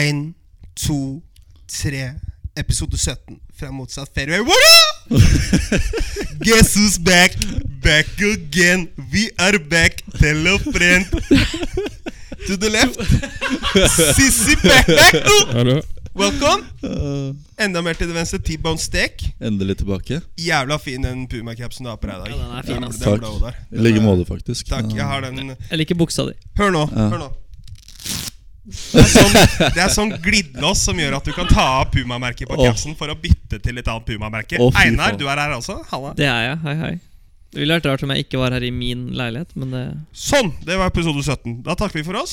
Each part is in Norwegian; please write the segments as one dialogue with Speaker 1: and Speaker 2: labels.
Speaker 1: Én, to, tre. Episode 17 fra motsatt fairway. Woohoo! Guess who's back? Back again. We are back. Tell a friend. To the left. Sissy Backpack.
Speaker 2: Hallo.
Speaker 1: Welcome.
Speaker 2: Eh,
Speaker 1: Enda mer til det venstre. T-bone steak.
Speaker 2: endelig tilbake.
Speaker 1: Jævla fin den puma-capsen du har på deg i dag.
Speaker 3: Ja, den er fin,
Speaker 1: Jævla,
Speaker 3: ass.
Speaker 1: den
Speaker 2: Takk.
Speaker 1: blå der.
Speaker 2: I like måte, faktisk.
Speaker 1: Takk. Jeg har den
Speaker 3: Jeg liker buksa di.
Speaker 1: Hør nå.
Speaker 2: Ja.
Speaker 1: hør nå Det er sånn, det er sånn glidelås som gjør at du kan ta av Puma-merket på
Speaker 2: Åh.
Speaker 1: capsen for å bytte til et annet Puma-merke.
Speaker 2: Å, fy
Speaker 1: Einar,
Speaker 2: faen.
Speaker 1: du er her også. Halla.
Speaker 3: Det er jeg. Hei, hei. Det ville vært rart om jeg ikke var her i min leilighet, men eh, det
Speaker 1: Sånn! Det var episode 17. Da takker vi for oss.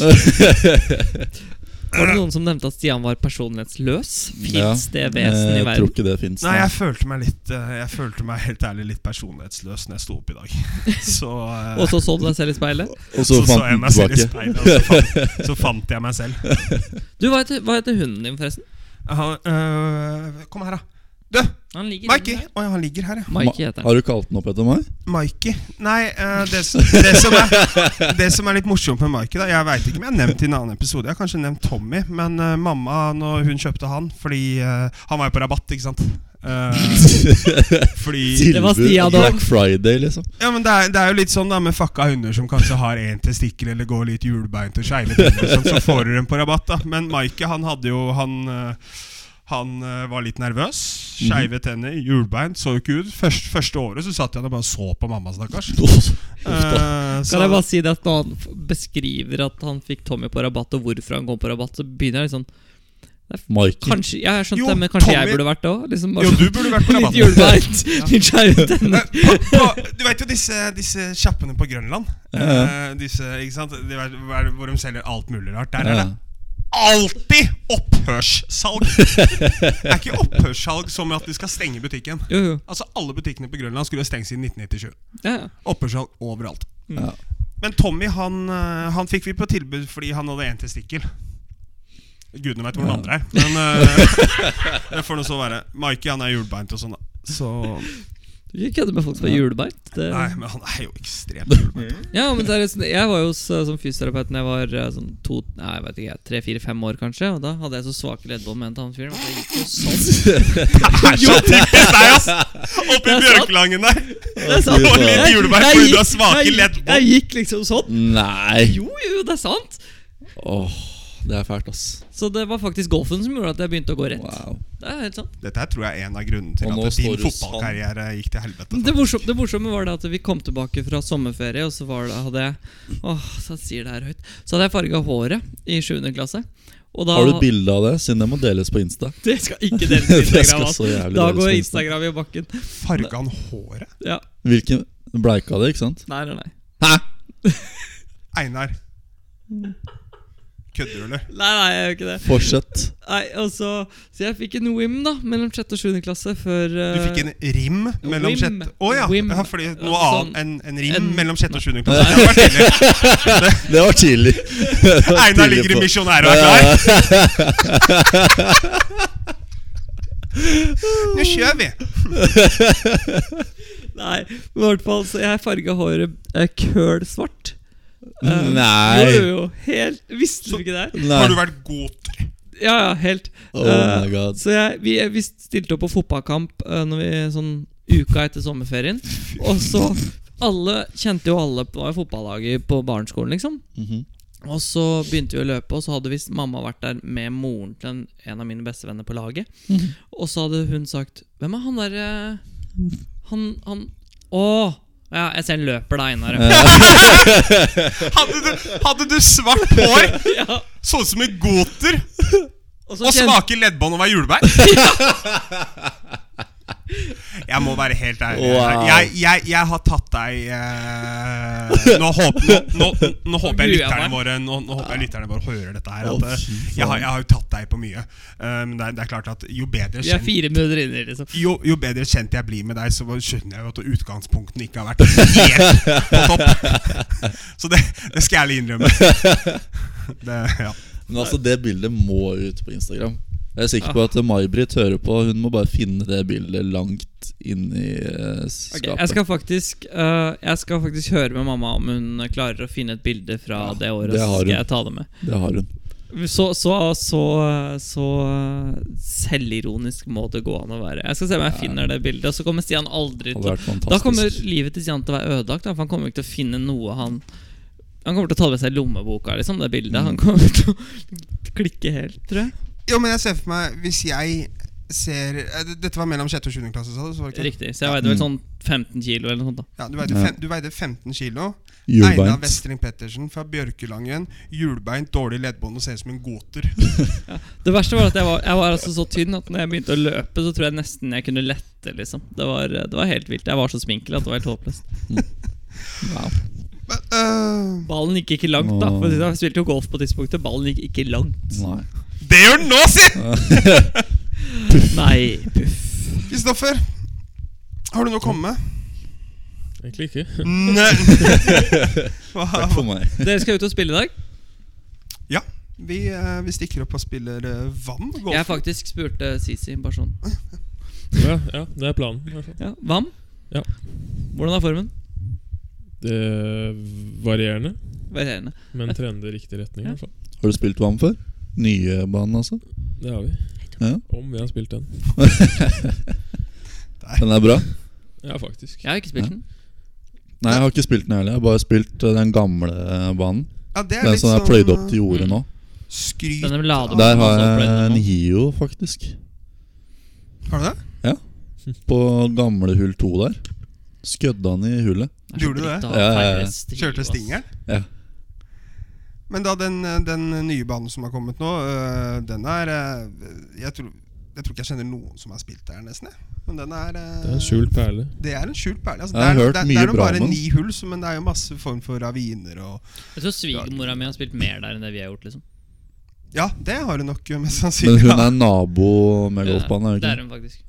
Speaker 3: Var det noen som nevnte at Stian var personlighetsløs? Fins
Speaker 2: Ja,
Speaker 3: det
Speaker 1: Eh,
Speaker 3: vesen i
Speaker 2: Jeg tror
Speaker 3: verden?
Speaker 2: ikke det fins.
Speaker 1: Nei, jeg følte meg litt eh, Jeg følte meg helt ærlig litt personlighetsløs når jeg sto opp i dag. Så eh,
Speaker 3: Og så så du deg selv i speilet?
Speaker 2: Og så
Speaker 1: jeg
Speaker 2: fant den
Speaker 1: meg selv i
Speaker 2: tilbake.
Speaker 1: speilet, og så fant, så fant jeg meg selv.
Speaker 3: Du, hva heter, hva heter hunden din, forresten?
Speaker 1: Jeg har, eh, kom her, da. Du,
Speaker 3: Han ligger
Speaker 1: Mikey!
Speaker 3: inne der.
Speaker 1: Å ja, han ligger her, ja.
Speaker 3: Mikey heter han.
Speaker 2: Har du kalt den opp etter meg?
Speaker 1: Mikey Nei, eh, det, som, det, som er, det som er litt morsomt med Mikey da, Jeg veit ikke om jeg har nevnt i en annen episode. Jeg har kanskje nevnt Tommy, men eh, mamma når hun kjøpte han Fordi eh, han var jo på rabatt, ikke sant? Eh, fordi
Speaker 3: Det var
Speaker 2: Tilbud
Speaker 3: Stian
Speaker 2: og
Speaker 3: da.
Speaker 2: Black Friday, liksom.
Speaker 1: Ja, men det er, det er jo litt sånn da med fucka hunder som kanskje har én testikkel eller går litt hjulbeint og skeive tenner, og sånn, så får du dem på rabatt. da Men Mikey, han hadde jo Han, eh, han eh, var litt nervøs. Skeive tenner, hjulbeint, så jo ikke ut. Først, første året så satt han og bare så på mamma, stakkars. Eh, så-
Speaker 3: Kan jeg bare si det at Når han f- beskriver at han fikk Tommy på rabatt, og hvorfor han kom på rabatt, så begynner jeg litt sånn
Speaker 2: Mikey.
Speaker 3: Kanskje, ja, jeg skjønte
Speaker 1: Jo,
Speaker 3: det, men kanskje
Speaker 1: Tommy-
Speaker 3: jeg burde vært det òg? Liksom, bare
Speaker 1: Jo,
Speaker 3: sånn
Speaker 1: du burde vært på
Speaker 3: litt
Speaker 1: rabatten.
Speaker 3: hjulbeint, litt skeive tenner.
Speaker 1: Eh, på- på- Du vet jo disse, disse kjappene på Grønland?
Speaker 2: Ja, ja.
Speaker 1: Eh, disse, ikke sant? De vet, hva er det- hvor de selger alt mulig rart. Der er
Speaker 2: Ja.
Speaker 1: det alltid opphørssalg! Det er ikke opphørssalg som at de skal stenge butikken.
Speaker 3: Jo, jo.
Speaker 1: Altså Alle butikkene på Grønland skulle stengt siden 1997.
Speaker 3: Ja, ja.
Speaker 1: Opphørssalg overalt.
Speaker 2: Ja.
Speaker 1: Mm. Men Tommy han, eh, han fikk vi på tilbud fordi han hadde én testikkel. Gudene veit hvor den andre er. Men eh, det får nå så være. Mikey han er hjulbeint og sånn. da. Så
Speaker 3: Du kan ikke kødde med folk som er hjulbeint. Det...
Speaker 1: Nei, men han er jo ekstremt hjulbeint.
Speaker 3: Ja, men seriøst, jeg var jo hos, eh, som fysioterapeut Når jeg var eh, sånn to, nei, jeg vet ikke, tre-fire-fem år kanskje Og da hadde jeg så svake leddbånd med en til han fyren at det gikk jo sånn.
Speaker 1: Det er så typisk deg, ass! Oppi Bjørkelangen der.
Speaker 3: Det er sant.
Speaker 1: Og litt
Speaker 3: Jeg-
Speaker 1: hjulbein
Speaker 3: jeg
Speaker 1: fordi du
Speaker 3: gikk-
Speaker 1: har svake
Speaker 3: jeg gikk-
Speaker 1: leddbånd.
Speaker 3: Jeg gikk liksom sånn.
Speaker 2: Nei!
Speaker 3: Jo, jo, det er sant.
Speaker 2: Åh, det er fælt, ass.
Speaker 3: Så det var faktisk golfen som gjorde at jeg begynte å gå rett.
Speaker 2: Wow.
Speaker 3: Det er helt sant.
Speaker 1: Dette her tror jeg er en av grunnene til
Speaker 2: Og nå
Speaker 1: at din
Speaker 2: står du
Speaker 1: fotballkarriere gikk til helvete.
Speaker 3: Men Det morsomme, det morsomme var det at vi kom tilbake fra sommerferie, og så var det, hadde jeg Åh, så jeg sier det her høyt. Så hadde jeg farga håret i 7. klasse. Og da
Speaker 2: Har du et bilde av det? Siden det må deles på Insta.
Speaker 3: Det skal ikke deles på
Speaker 2: Det skal
Speaker 3: Instagram. ass.
Speaker 2: så jævlig
Speaker 3: Da
Speaker 2: deles på
Speaker 3: går
Speaker 2: Insta.
Speaker 3: Instagram i bakken.
Speaker 1: Farga han håret?
Speaker 3: Ja,
Speaker 2: Hvilken Bleika det, ikke sant?
Speaker 3: Nei, nei, nei.
Speaker 2: Hæ?
Speaker 1: Einar.
Speaker 2: Mm.
Speaker 1: Kødder du, eller?
Speaker 3: Nei, nei, jeg gjør ikke det.
Speaker 2: Fortsett.
Speaker 3: Nei, og så, så jeg fikk en WIM da mellom 6. og 7. klasse før eh,
Speaker 1: Du fikk en rim mellom
Speaker 3: Whim.
Speaker 1: sjette Å ja.
Speaker 3: Whim.
Speaker 1: ja! Fordi noe
Speaker 3: Sånn.
Speaker 1: annet enn en rim
Speaker 3: En-
Speaker 1: mellom sjette og sjuende klasse. Det var tidlig.
Speaker 2: Det var tidlig. Det var
Speaker 1: Einar
Speaker 2: tidlig
Speaker 1: ligger i
Speaker 2: på-
Speaker 1: misjonær og er klar. Nå kjører vi!
Speaker 3: Nei, men i hvert fall så jeg farga håret eh, køl svart. Eh,
Speaker 2: Nei.
Speaker 3: Jo, jo, jo, helt Visste du ikke det? her?
Speaker 2: Nei.
Speaker 1: Har du vært god
Speaker 3: Ja, ja, helt.
Speaker 2: Oh
Speaker 3: Eh,
Speaker 2: my God.
Speaker 3: Så jeg, vi, vi stilte opp på fotballkamp eh, Når vi sånn uka etter sommerferien. Og så Alle kjente jo alle på var jo fotballaget på barneskolen, liksom.
Speaker 2: Mhm.
Speaker 3: Og så begynte vi å løpe, og så hadde visst mamma vært der med moren til en, en av mine bestevenner på laget. Og så hadde hun sagt Hvem er han der eh, Han, han Å! Ja, jeg ser han løper da, Einar.
Speaker 1: Hadde du, hadde du svart hår?
Speaker 3: Ja.
Speaker 1: Sånn som en goter
Speaker 3: Og så
Speaker 1: og
Speaker 3: kjente-
Speaker 1: smake leddbånd og være jordbær? Jeg må være helt ærlig.
Speaker 2: Wow.
Speaker 1: Jeg, jeg, jeg har tatt deg eh, nå, håper, nå, nå, nå håper jeg
Speaker 3: gruer jeg
Speaker 1: lytterne
Speaker 3: meg.
Speaker 1: våre Nå, nå håper jeg lytterne våre hører dette her.
Speaker 2: Å,
Speaker 1: At, eh,
Speaker 2: fy faen.
Speaker 1: jeg, har, jeg har jo tatt deg på mye. Eh, Men det er, det er klart at jo bedre
Speaker 3: Vi er
Speaker 1: kjent
Speaker 3: fire minutter inni, liksom.
Speaker 1: jo, jo bedre kjent jeg blir med deg, så skjønner jeg jo at utgangspunktene ikke har vært helt på topp. Så det, det skal jeg ærlig innrømme. Det, ja.
Speaker 2: Men altså, det bildet må ut på Instagram. Jeg er sikker på at May-Britt hører på. Hun må bare finne det bildet langt inni uh,
Speaker 3: Ok,
Speaker 2: skapet.
Speaker 3: jeg, skal faktisk, eh, jeg skal faktisk høre med mamma om hun klarer å finne et bilde fra det året.
Speaker 2: det
Speaker 3: så
Speaker 2: har hun.
Speaker 3: skal jeg ta det med
Speaker 2: Det har hun.
Speaker 3: Så, så, så, så eh, selvironisk må det gå an å være. Jeg skal se om jeg finner det bildet. Og så kommer Stian aldri
Speaker 2: Hadde
Speaker 3: til
Speaker 2: vært fantastisk.
Speaker 3: Da kommer livet til Stian til å være ødelagt. da, For han kommer ikke til å finne noe han Han kommer til å ta med seg lommeboka, liksom, det bildet.
Speaker 2: Mm.
Speaker 3: Han kommer til å klikke helt, tror jeg.
Speaker 1: Jo, men jeg ser for meg Hvis jeg ser eh, d- Dette var mellom 6. og 7. klasse, sa du? Så var det ikke?
Speaker 3: Riktig. Så jeg veide
Speaker 2: Mm.
Speaker 3: vel sånn 15 kilo eller noe sånt. da
Speaker 1: Ja, du, veide
Speaker 2: Ja.
Speaker 1: fem, du veide 15 kilo. Einar
Speaker 2: Hjulbeint.
Speaker 1: Westring Pettersen fra Bjørkelangen. Hjulbeint, dårlig leddbånd og ser ut som en goter.
Speaker 3: Det verste var at jeg var, jeg var altså så tynn at når jeg begynte å løpe, så tror jeg nesten jeg kunne lette. liksom Det var, det var helt vilt. Jeg var så sminkel at det var helt håpløst.
Speaker 2: Wow.
Speaker 1: Men, øh,
Speaker 3: Ballen gikk ikke langt, da. For sånn. jeg spilte jo golf på tidspunktet. Ballen gikk ikke langt.
Speaker 2: Nei.
Speaker 1: det gjør den nå, si!
Speaker 3: Nei, puff.
Speaker 1: Kristoffer, har du noe å komme med?
Speaker 4: Egentlig ikke.
Speaker 1: Nei. Hva?
Speaker 2: Takk for meg.
Speaker 3: Dere skal ut og spille i dag.
Speaker 1: Ja, vi, eh, vi stikker opp og spiller eh, vann. golf.
Speaker 3: Jeg faktisk spurte Sisi en person.
Speaker 4: Ja, ja, det er planen. i hvert fall.
Speaker 3: Ja, Vam?
Speaker 4: Ja.
Speaker 3: Hvordan er formen?
Speaker 4: Det er varierende,
Speaker 3: Varierende.
Speaker 4: men trender i riktig retning. i hvert fall.
Speaker 2: Har du spilt VAM før? Nye banen, altså?
Speaker 4: Det har vi.
Speaker 2: Ja.
Speaker 4: Om vi har spilt den.
Speaker 2: Den er bra?
Speaker 4: Ja, faktisk.
Speaker 3: Jeg har ikke spilt
Speaker 2: Ja.
Speaker 3: den.
Speaker 2: Nei, jeg har ikke spilt den heller. Jeg har bare spilt eh, den gamle eh, banen.
Speaker 1: ja, det er
Speaker 2: Den
Speaker 1: litt
Speaker 2: som er pløyd opp
Speaker 1: eh,
Speaker 2: til jordet nå.
Speaker 1: Skryt.
Speaker 3: Den er ladet
Speaker 2: Der
Speaker 3: med
Speaker 2: har
Speaker 3: masse
Speaker 2: jeg
Speaker 3: opplegg
Speaker 2: en
Speaker 3: nå.
Speaker 2: Hio, faktisk.
Speaker 1: Har du det?
Speaker 2: På gamle hull to der. Skødda han i hullet.
Speaker 3: Det er så
Speaker 1: Gjorde du det?
Speaker 3: dritt å
Speaker 2: Ja, ja, ja.
Speaker 3: feire stil,
Speaker 1: Kjørte
Speaker 3: ass.
Speaker 1: stingeren?
Speaker 2: Ja.
Speaker 1: Men da den, eh, den nye banen som har kommet nå, eh, den er eh, jeg tror, jeg tror ikke jeg kjenner noen som har spilt der, nesten. Jeg. Men den er eh,
Speaker 4: Det er en skjult perle.
Speaker 1: Det er en skjult perle. Altså,
Speaker 2: Jeg har
Speaker 1: det er,
Speaker 2: hørt
Speaker 1: det, er-
Speaker 2: mye
Speaker 1: det er jo
Speaker 2: bra
Speaker 1: bare
Speaker 2: om den.
Speaker 1: ni hull, så, men det er jo masse form for raviner og
Speaker 3: Jeg tror svigermora mi har spilt mer der enn det vi har gjort. liksom
Speaker 1: Ja, det har du nok eh, mest
Speaker 2: Men
Speaker 1: sannsynlig.
Speaker 2: hun er nabo med golfbanen,
Speaker 3: Det
Speaker 2: er
Speaker 3: er
Speaker 2: hun ikke?
Speaker 3: hun faktisk.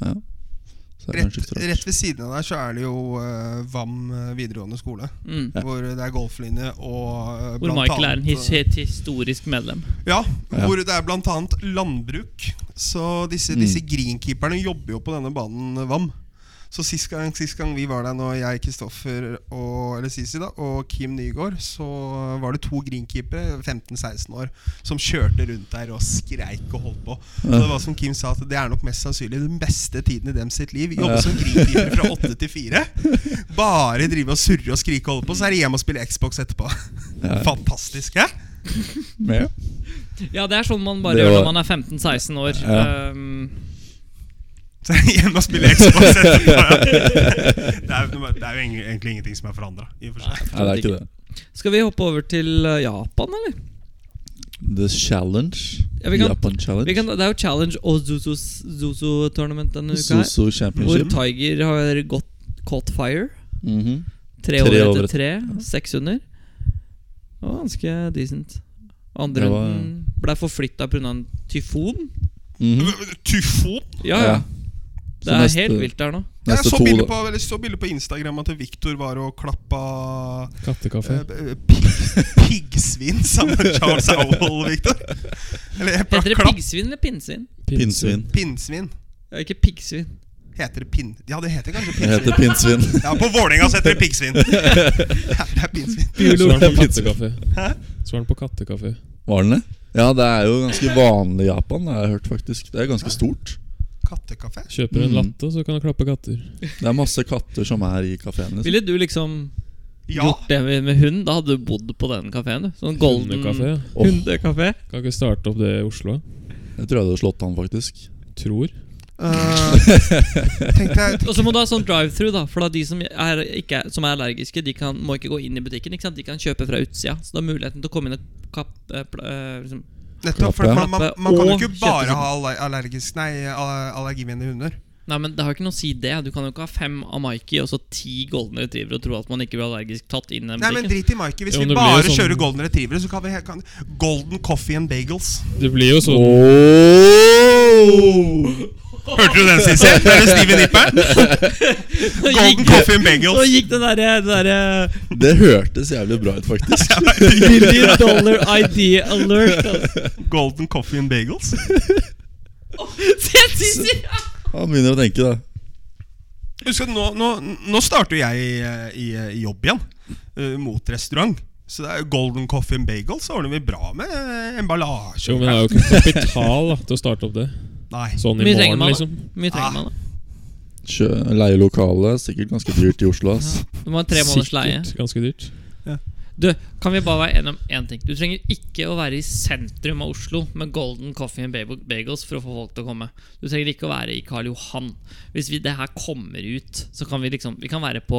Speaker 2: Så er det
Speaker 1: Rett,
Speaker 2: kanskje ikke så
Speaker 1: rett
Speaker 2: rart.
Speaker 1: ved siden av der så er det jo eh, VAM eh, videregående skole.
Speaker 3: Mm.
Speaker 1: Hvor det er golflinje og eh,
Speaker 3: Hvor
Speaker 1: blant
Speaker 3: Michael er en
Speaker 1: annet-
Speaker 3: his
Speaker 2: eh,
Speaker 3: et historisk medlem.
Speaker 1: Ja,
Speaker 2: Ja.
Speaker 1: hvor det er blant annet landbruk. Så disse, disse
Speaker 2: Mm.
Speaker 1: greenkeeperne jobber jo på denne banen eh, VAM. Så sist gang, sist gang vi var der nå, jeg, Kristoffer og, eller Sisi da, og Kim Nygaard, så var det to greenkeepere, 15-16 år, som kjørte rundt der og skreik og holdt på. Så det var som Kim sa, at det er nok mest sannsynlig den beste tiden i dem sitt liv. Jobbe
Speaker 2: Ja.
Speaker 1: som greenkeeper fra åtte til fire. Bare drive og surre og skrike og holde på, så er det hjem og spille Xbox etterpå.
Speaker 2: Ja.
Speaker 1: Fantastisk, hæ?
Speaker 2: Med?
Speaker 3: Ja, det er sånn man bare
Speaker 2: Det
Speaker 3: gjør
Speaker 2: var-
Speaker 3: når man er 15-16 år.
Speaker 2: Ja.
Speaker 3: Um,
Speaker 1: Så jeg er hjemme og spiller Xbox etterpå. Ja. Det er, jo noe- det er jo eng- egentlig ingenting som er forandra.
Speaker 2: Nei, det er ikke det.
Speaker 3: skal vi hoppe over til uh, Japan, eller?
Speaker 2: The Challenge.
Speaker 3: Ja, vi kan-
Speaker 2: Japan
Speaker 3: Vi kan,
Speaker 2: Challenge.
Speaker 3: det er jo Challenge og Zuzu Zuzu Tournament denne uka. her
Speaker 2: Soso
Speaker 3: Hvor
Speaker 2: Championship.
Speaker 3: Tiger har gått caught fire.
Speaker 2: Mhm.
Speaker 3: Tre
Speaker 2: Tre
Speaker 3: over
Speaker 2: over
Speaker 3: etter
Speaker 2: et-
Speaker 3: tre. Seks under. Det var ganske decent. Andre
Speaker 2: Det var-
Speaker 3: runden ble forflytta pga. en tyfon.
Speaker 2: Mhm.
Speaker 1: Tyfon?
Speaker 3: Ja, ja. Det
Speaker 2: Så
Speaker 3: er
Speaker 2: Mhm. neste-
Speaker 3: helt vilt der nå.
Speaker 1: Jeg
Speaker 2: Neste
Speaker 1: så
Speaker 2: to,
Speaker 1: bilde
Speaker 2: da.
Speaker 1: på, eller så bilde på Instagram at Victor var og klappa
Speaker 4: Kattekaffe.
Speaker 1: eh, pig, piggsvin sammen med Charles Howell, Victor. Eller jeg
Speaker 3: Heter
Speaker 1: bare
Speaker 3: det
Speaker 1: klapp
Speaker 3: piggsvin eller pinnsvin?
Speaker 2: Pinnsvin.
Speaker 1: pinnsvin.
Speaker 3: Ja, ikke piggsvin.
Speaker 1: Heter det pinn... Ja, det heter kanskje
Speaker 2: Det heter
Speaker 1: pinnsvin.
Speaker 2: pinnsvin.
Speaker 1: Ja, På Vålerenga så heter det piggsvin. Ja, det er pinnsvin.
Speaker 4: Svaren på
Speaker 2: Pinnsvin.
Speaker 4: kattekaffe. Svaren på kattekaffe.
Speaker 2: Var den det? Ja, det er jo ganske vanlig i Japan, det har jeg hørt faktisk. Det er ganske stort.
Speaker 1: Kattekaffe?
Speaker 4: Kjøper
Speaker 2: Mm.
Speaker 4: en latte, så kan du klappe katter.
Speaker 2: Det er masse katter som er i kafeen. Liksom.
Speaker 3: Ville du liksom
Speaker 1: Ja.
Speaker 3: gjort det med med hund? Da hadde du bodd på den kafeen. Sånn golden
Speaker 4: Hundekaffe.
Speaker 3: hundekafé.
Speaker 4: ja.
Speaker 2: Åh,
Speaker 4: Kan ikke starte opp det i Oslo.
Speaker 2: jeg tror jeg hadde slått han, faktisk.
Speaker 4: Tror.
Speaker 1: Eh, tenkte jeg
Speaker 3: Og så må du ha sånn drive-through, da. For da de som er, ikke, er- som er allergiske, de kan, må ikke gå inn i butikken. Ikke sant? De kan kjøpe fra utsida. Så du har muligheten til å komme inn og kappe eh, pl- eh, liksom.
Speaker 1: Nettopp, for man, man, man kan jo
Speaker 3: Og
Speaker 1: ikke bare
Speaker 3: kjøttesum.
Speaker 1: ha aller- allergisk Nei, aller- allergivennlige hunder.
Speaker 3: Nei, men det har ikke noe å si, det. Du kan jo ikke ha fem Amaiki og så ti golden retrievere og tro at man ikke blir allergisk tatt inn i den
Speaker 1: Nei, men
Speaker 3: butikken.
Speaker 1: Drit i Mikey. Hvis
Speaker 4: Jo,
Speaker 1: vi
Speaker 4: det blir
Speaker 1: bare
Speaker 4: jo sånn-
Speaker 1: kjører golden retrievere, så kan vi kan, Golden coffee and bagels.
Speaker 4: Det blir jo sånn
Speaker 1: Hørte du den, Sissy? Det er Steven Nipperen.
Speaker 3: Nå
Speaker 1: Golden
Speaker 3: gikk,
Speaker 1: coffee and
Speaker 3: nå
Speaker 1: bagels.
Speaker 3: gikk den derre der, eh,
Speaker 2: Det hørtes jævlig bra ut, faktisk.
Speaker 3: Million dollar ID alert. Altså.
Speaker 1: Golden coffee and bagels.
Speaker 3: Se, Sissi!
Speaker 2: Han begynner å tenke, da.
Speaker 1: eh, Husk at nå, nå, nå starter jeg i, i, i jobb igjen, eh, mot restaurant. Så det er jo Golden Coffin Bagels så ordner vi bra med eh, emballasje.
Speaker 4: Jo, men det er jo ikke kapital da, til å starte opp det.
Speaker 1: Nei.
Speaker 4: Sånn i
Speaker 3: Mye trenger
Speaker 4: morgen,
Speaker 3: man, da.
Speaker 4: liksom.
Speaker 3: Mye trenger
Speaker 1: Ah.
Speaker 3: man da.
Speaker 2: Kjø- Leie lokale er sikkert ganske dyrt i Oslo. ass
Speaker 3: Du må ha tre måneders leie.
Speaker 4: Sikkert ganske dyrt.
Speaker 3: Du, kan vi bare være enige om én ting? Du trenger ikke å være i sentrum av Oslo med Golden Coffee and Bab- Bagels for å få folk til å komme. Du trenger ikke å være i Karl Johan. Hvis vi, det her kommer ut, så kan vi liksom Vi kan være på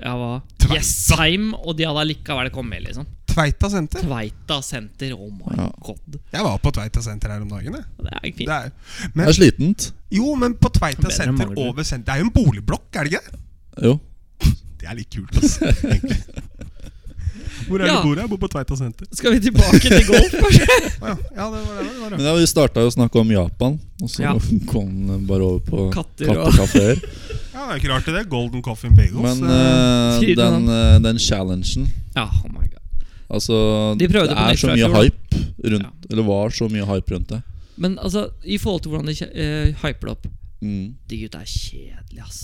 Speaker 3: ja, hva?
Speaker 1: Tveita.
Speaker 3: Jessheim, og de hadde allikevel kommet, liksom.
Speaker 1: Tveita senter.
Speaker 3: Tveita senter, oh my
Speaker 2: Ja.
Speaker 3: god.
Speaker 1: Jeg var på Tveita senter her om dagen. Jeg.
Speaker 3: Det er
Speaker 1: Det
Speaker 3: fint.
Speaker 1: er,
Speaker 2: Det er slitent.
Speaker 1: jo, men på Tveita
Speaker 3: Bedre enn
Speaker 1: senter
Speaker 3: Manglerud.
Speaker 1: over senter Det er jo en boligblokk, er det ikke? det?
Speaker 2: Jo.
Speaker 1: Det er litt kult, ass, egentlig. Hvor er
Speaker 3: Ja.
Speaker 1: du bor? Jeg bor på Tveita senter.
Speaker 3: Skal vi tilbake til golf, kanskje?
Speaker 1: Å ja. ja, det var det. det, var det.
Speaker 2: Men ja, Vi starta jo å snakke om Japan, og så
Speaker 3: Ja.
Speaker 2: kom det bare over på
Speaker 3: Katter og-
Speaker 2: kattekafeer.
Speaker 1: Ja, det er ikke rart det. Golden Coffin Bagels.
Speaker 2: Men
Speaker 1: eh,
Speaker 2: eh,
Speaker 3: Sier du
Speaker 2: den, eh, den challengen
Speaker 3: Ja, oh my god.
Speaker 2: Altså,
Speaker 3: De prøvde
Speaker 2: det
Speaker 3: på
Speaker 2: er
Speaker 3: nytt
Speaker 2: så
Speaker 3: fra i
Speaker 2: mye
Speaker 3: fjor, da.
Speaker 2: hype rundt Eller var så mye hype rundt det.
Speaker 3: Men altså, i forhold til hvordan de eh, hyper det opp
Speaker 2: Mm.
Speaker 3: De gutta er kjedelige, ass.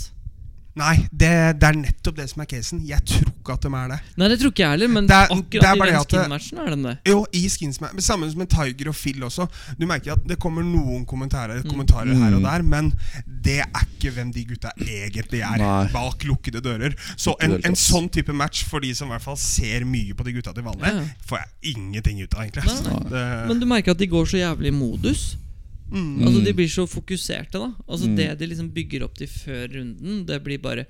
Speaker 1: nei, det, det er nettopp det som er casen. Jeg tror ikke at de er det.
Speaker 3: Nei, det tror ikke jeg heller, men
Speaker 1: Det er- det er
Speaker 3: akkurat
Speaker 1: bare
Speaker 3: i
Speaker 1: det
Speaker 3: den
Speaker 1: at det-
Speaker 3: skin-matchen er de det.
Speaker 1: Jo, i Skinsman. Men Samme som med Tiger og Phil også. Du merker at det kommer noen kommentarer,
Speaker 2: Mm.
Speaker 1: kommentarer her og der, men det er ikke hvem de gutta egentlig er.
Speaker 2: Nei.
Speaker 1: Bak lukkede dører. Så
Speaker 2: i
Speaker 1: en,
Speaker 2: det hele
Speaker 1: en
Speaker 2: tatt.
Speaker 1: sånn type match for de som i hvert fall ser mye på de gutta til vanlig,
Speaker 3: Ja.
Speaker 1: får jeg ingenting ut av, egentlig.
Speaker 3: Nei, nei.
Speaker 1: Det,
Speaker 3: Men du merker at de går så jævlig i modus.
Speaker 1: mm,
Speaker 3: Altså
Speaker 2: Mm.
Speaker 3: De blir så fokuserte. da Altså
Speaker 2: Mm.
Speaker 3: Det de liksom bygger opp til før runden, det blir bare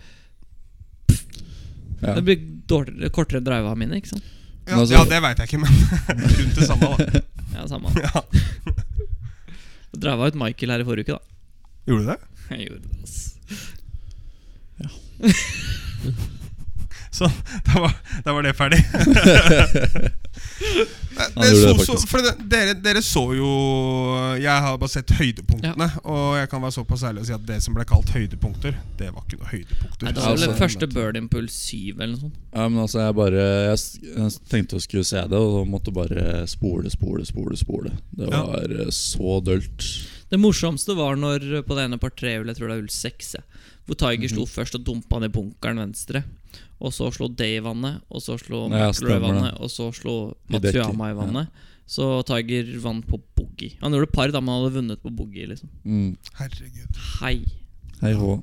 Speaker 2: Ja.
Speaker 3: Det blir dårligere, kortere driva mine. Ikke sant?
Speaker 1: ja,
Speaker 2: Men altså-
Speaker 1: ja, det veit jeg ikke, men rundt det samme, da.
Speaker 3: Ja, samme
Speaker 1: Ja.
Speaker 3: Driva ut Michael her i forrige uke, da.
Speaker 1: Gjorde du det?
Speaker 3: Jeg gjorde det, ass.
Speaker 1: Så da var, da var det ferdig.
Speaker 2: Han
Speaker 1: det så,
Speaker 2: gjorde det,
Speaker 1: så,
Speaker 2: faktisk.
Speaker 1: for det, dere, dere så jo Jeg har bare sett høydepunktene. Og jeg kan være såpass ærlig og si at det som ble kalt høydepunkter, det var ikke noe høydepunkter.
Speaker 3: Nei, det
Speaker 2: Ja,
Speaker 3: var vel
Speaker 2: altså-
Speaker 3: første Bird Impulse 7 eller noe sånt.
Speaker 2: ja, men altså, jeg bare Jeg s- jeg tenkte jeg skulle se det, og så måtte bare spole, spole, spole. spole Det
Speaker 1: Ja.
Speaker 2: var eh, så dølt.
Speaker 3: Det morsomste var når eh, på det ene par tre, eller jeg tror det er hull seks, jeg, hvor Tiger
Speaker 2: Mhm.
Speaker 3: slo først og dumpa han i bunkeren venstre. Og så slo Day i vannet, og så slo
Speaker 2: Ja,
Speaker 3: McIlroy i
Speaker 2: stemmer det.
Speaker 3: vannet, og så slo
Speaker 2: I dekker,
Speaker 3: Matsuyama i
Speaker 2: ja.
Speaker 3: vannet. Så Tiger vant på boogie. Han gjorde par da, men han hadde vunnet på boogie. liksom
Speaker 2: Mm.
Speaker 1: Herregud.
Speaker 3: Hei.
Speaker 2: Hei hå.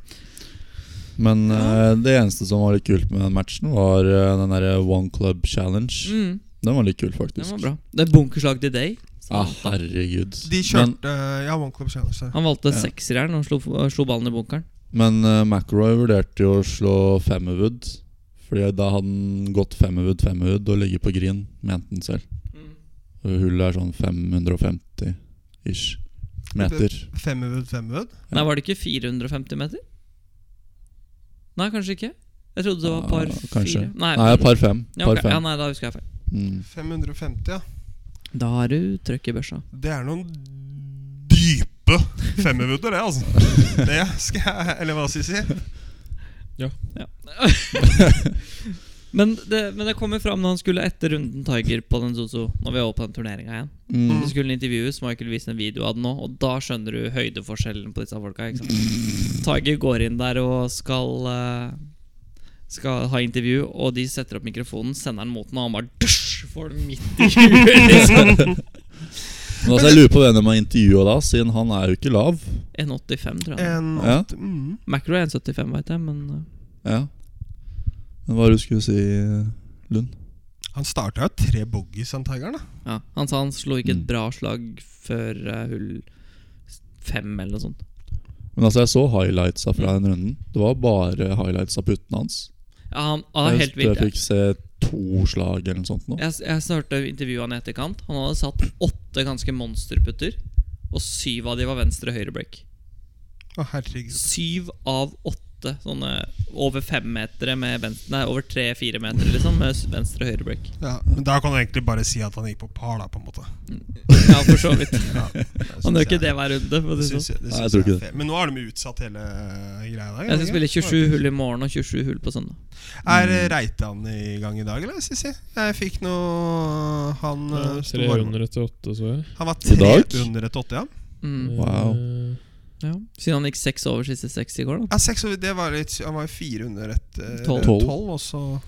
Speaker 2: Men eh, det eneste som var litt kult med den matchen, var eh, den derre One Club Challenge.
Speaker 3: Mm,
Speaker 2: Den var litt kul,
Speaker 3: det
Speaker 2: faktisk.
Speaker 3: var bra. Det er bunkerslag til Day. Så
Speaker 2: Ah,
Speaker 3: han-
Speaker 2: herregud.
Speaker 1: De kjørte Ja, One Club Challenge. sorry.
Speaker 3: han valgte
Speaker 2: Ja.
Speaker 3: sekserjern og slo, eh, slo ballen i bunkeren.
Speaker 2: Men, men eh, McElroy vurderte jo å slå Femmerwood. Fordi da hadde han gått Femmerwood, Femmerwood og ligget på green, mente han selv. Og Hullet er sånn 550-ish meter.
Speaker 1: Femmerwood, femmerwood.
Speaker 2: Ja.
Speaker 3: Nei, var det ikke 450 meter? Nei, kanskje ikke. Jeg trodde det var
Speaker 2: Ja,
Speaker 3: par
Speaker 2: Ah, kanskje.
Speaker 3: fire. Nei,
Speaker 2: Nei, par fem.
Speaker 3: Ja, ok.
Speaker 2: Par
Speaker 3: ja,
Speaker 2: fem.
Speaker 3: nei, da husker jeg feil.
Speaker 2: Mm.
Speaker 1: 550, ja.
Speaker 3: Da har du trøkk i børsa.
Speaker 1: Det er noen dype femmerwooder, det, altså. Det skal jeg Eller hva skal jeg si?
Speaker 3: Men det, men det kommer fram når han skulle etter runden Tiger på den Zozo, når vi var på den turneringa igjen.
Speaker 2: Mm.
Speaker 3: Så skulle han intervjues, Michael viste en video av den òg, og da skjønner du høydeforskjellen på disse folka. ikke sant? Tiger går inn der og skal eh, Skal ha intervju, og de setter opp mikrofonen, sender den mot den, og han bare dusj, får den midt i huet. Liksom.
Speaker 2: Men altså, jeg lurer på hvem de har intervjua da, siden han er jo ikke lav.
Speaker 3: 1,85, tror jeg.
Speaker 1: En
Speaker 2: Ja.
Speaker 1: åtte- mm.
Speaker 3: Macro er 1,75, veit jeg, men eh,
Speaker 2: Ja. Men hva er det du skulle si, Lund?
Speaker 1: Han starta jo tre bogies, han tigeren. da
Speaker 3: Ja, Han sa han slo ikke et
Speaker 2: Mm.
Speaker 3: bra slag før eh, hull fem eller noe sånt.
Speaker 2: Men altså, jeg så highlightsa fra
Speaker 3: Mm.
Speaker 2: den runden. Det var bare highlights av puttene hans.
Speaker 3: Ja, han han er
Speaker 2: jeg,
Speaker 3: helt vilt.
Speaker 2: jeg fikk se to slag eller noe sånt nå.
Speaker 3: Jeg, jeg hørte intervjuet han i etterkant. Han hadde satt åtte ganske monsterputter, og syv av de var venstre høyre break.
Speaker 1: Å, herregud.
Speaker 3: Syv av åtte sånne over femmetere med venstre Nei, over tre-fire meter, liksom, med s- venstre høyre break.
Speaker 1: Ja, men da kan du egentlig bare si at han gikk på par, da, på en måte.
Speaker 3: Ja, for så vidt.
Speaker 1: Ja, det
Speaker 3: Han
Speaker 1: syns
Speaker 3: gjør ikke
Speaker 1: jeg-
Speaker 3: det hver runde. For å
Speaker 1: Det
Speaker 3: si det
Speaker 1: syns
Speaker 3: sånn.
Speaker 1: jeg, det
Speaker 2: Nei, jeg
Speaker 1: syns jeg
Speaker 2: tror ikke
Speaker 1: er fair. Men nå har de jo utsatt hele eh, greia i dag.
Speaker 3: Jeg
Speaker 1: ikke?
Speaker 3: skal spille 27 hull i morgen og 27 hull på søndag.
Speaker 1: Er eh, Reitan i gang i dag, eller? Sissi? Jeg fikk noe Han
Speaker 4: Ja,
Speaker 1: eh, sto
Speaker 4: Tre
Speaker 1: varm.
Speaker 4: under etter åtte, så jeg.
Speaker 1: Han var
Speaker 2: I dag?
Speaker 1: tre under et åtte, ja.
Speaker 3: Mm,
Speaker 2: Wow.
Speaker 4: Eh,
Speaker 3: ja. Siden han gikk seks over siste seks i går, da.
Speaker 1: ja seks, over- det var litt, han var jo fire under et eh,
Speaker 3: Tolv.
Speaker 1: tolv, og så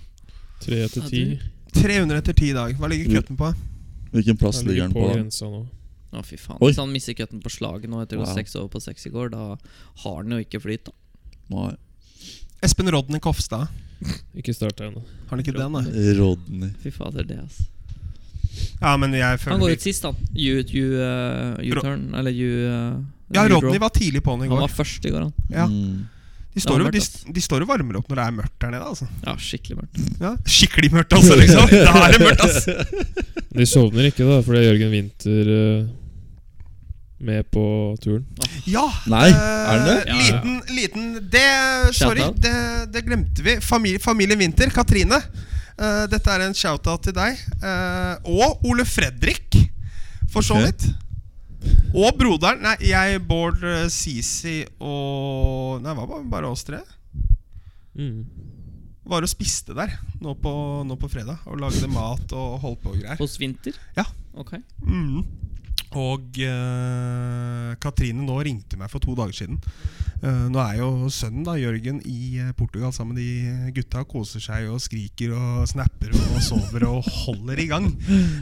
Speaker 4: Tre etter
Speaker 3: Ja,
Speaker 4: ti.
Speaker 3: du-
Speaker 1: 300 etter 10 i dag. Hva ligger cutten på?
Speaker 2: Hvilken plass
Speaker 4: Jeg
Speaker 2: ligger den
Speaker 4: ligger på
Speaker 2: på? da?
Speaker 4: grensa nå.
Speaker 3: Å, fy faen.
Speaker 2: Oi.
Speaker 3: Hvis han mister cutten på slaget nå etter å
Speaker 2: Wow.
Speaker 3: ha gått seks over på seks i går, da har han jo ikke flyt. da
Speaker 2: Nei.
Speaker 1: Espen Rodney Kofstad.
Speaker 4: Ikke starta ennå.
Speaker 1: Har han ikke den, da?
Speaker 2: Rodney.
Speaker 3: Fy fader, det, altså. ass.
Speaker 1: Ja, men jeg føler
Speaker 3: Han går
Speaker 1: vi-
Speaker 3: ut sist, han. You, you, uh, you
Speaker 1: Ro-
Speaker 3: turn, eller you uh,
Speaker 1: Ja,
Speaker 3: you
Speaker 1: Rodney
Speaker 3: draw.
Speaker 1: var tidlig på'n i
Speaker 3: Han
Speaker 1: går.
Speaker 3: var først i går, han.
Speaker 1: Ja.
Speaker 2: Mm.
Speaker 1: De står,
Speaker 3: det
Speaker 1: jo,
Speaker 3: var
Speaker 1: de,
Speaker 3: mørkt,
Speaker 1: de står og varmer opp når det er mørkt der nede. altså
Speaker 3: Ja, skikkelig mørkt.
Speaker 1: ja. Skikkelig mørkt, altså! liksom Da er det mørkt, ass!
Speaker 4: De sovner ikke, da, fordi Jørgen Winther eh, med på turen.
Speaker 1: Ja!
Speaker 2: Nei,
Speaker 1: eh,
Speaker 2: er det det?
Speaker 3: Ja, ja.
Speaker 1: Liten, liten Det Sorry,
Speaker 3: Shoutout.
Speaker 1: det, det glemte vi. Familie, familien Winther, Katrine. eh, dette er en shout-out til deg. eh, og Ole Fredrik, for så
Speaker 2: Ok.
Speaker 1: vidt. Og broderen. Nei, jeg, Bård, eh, Sisi og Nei, det var bare, bare oss tre.
Speaker 4: Mm.
Speaker 1: Var og spiste der nå på, nå på fredag. Og lagde mat og holdt på og greier.
Speaker 3: Hos Winter?
Speaker 1: Ja.
Speaker 3: Ok.
Speaker 1: Mm. Og eh, Katrine nå ringte meg for to dager siden. Eh, nå er jo sønnen da, Jørgen i eh, Portugal sammen med de gutta. Koser seg og skriker og snapper og sover og holder i gang.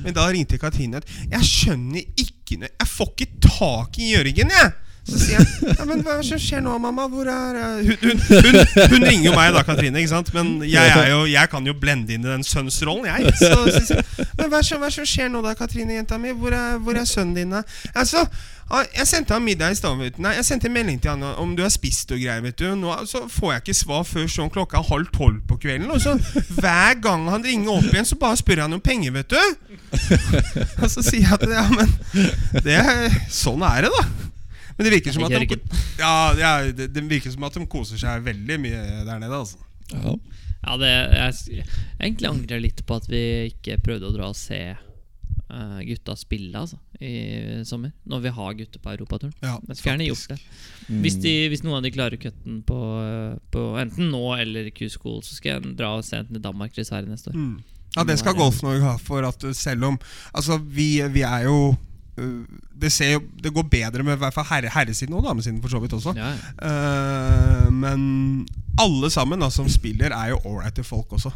Speaker 1: Men da ringte Katrine at jeg skjønner ikke noe Jeg får ikke tak i Jørgen, jeg! Så sier jeg ja, men hva er det som skjer nå, mamma? Hvor er eh, hun, hun, hun, hun ringer jo meg da, Katrine. ikke sant? Men jeg, er jo, jeg kan jo blende inn i den sønnsrollen, jeg. Så, så, sier jeg, men hva er det som- hva er det som skjer nå da, Katrine, jenta mi? Hvor er, hvor er sønnen din? da? Altså, ah, jeg sendte han middag i stad, vet du. Nei, jeg sendte en melding til han om du har spist og greier, vet du. Nå så får jeg ikke svar før sånn klokka er halv tolv på kvelden. Og så hver gang han ringer opp igjen, så bare spør han om penger, vet du. Og så sier jeg at ja, men det, sånn er det, da. Men det virker som at de,
Speaker 3: Jørgen.
Speaker 1: ja, ja, det, det virker som at de koser seg veldig mye der nede, altså.
Speaker 2: Ja.
Speaker 3: Ja, det, jeg, s- jeg egentlig angrer litt på at vi ikke prøvde å dra og se eh, gutta spille altså, i sommer. Når vi har gutter på europaturen.
Speaker 1: Ja,
Speaker 3: Jeg skulle gjerne gjort det. Hvis, de,
Speaker 1: Mm.
Speaker 3: hvis noen av de klarer cutten på, eh, på enten nå eller Q-school, så skal jeg dra og se enten til Danmark eller Sverige neste år.
Speaker 1: Mm. Ja, det skal Golf-Norge ha for at uh, selv om Altså, vi, vi er jo uh, det, ser jo, det går bedre med i hvert fall herre, herresiden og damesiden, for så vidt også.
Speaker 3: Ja, ja.
Speaker 1: Eh, men alle sammen da, som spiller, er jo ålreite folk også.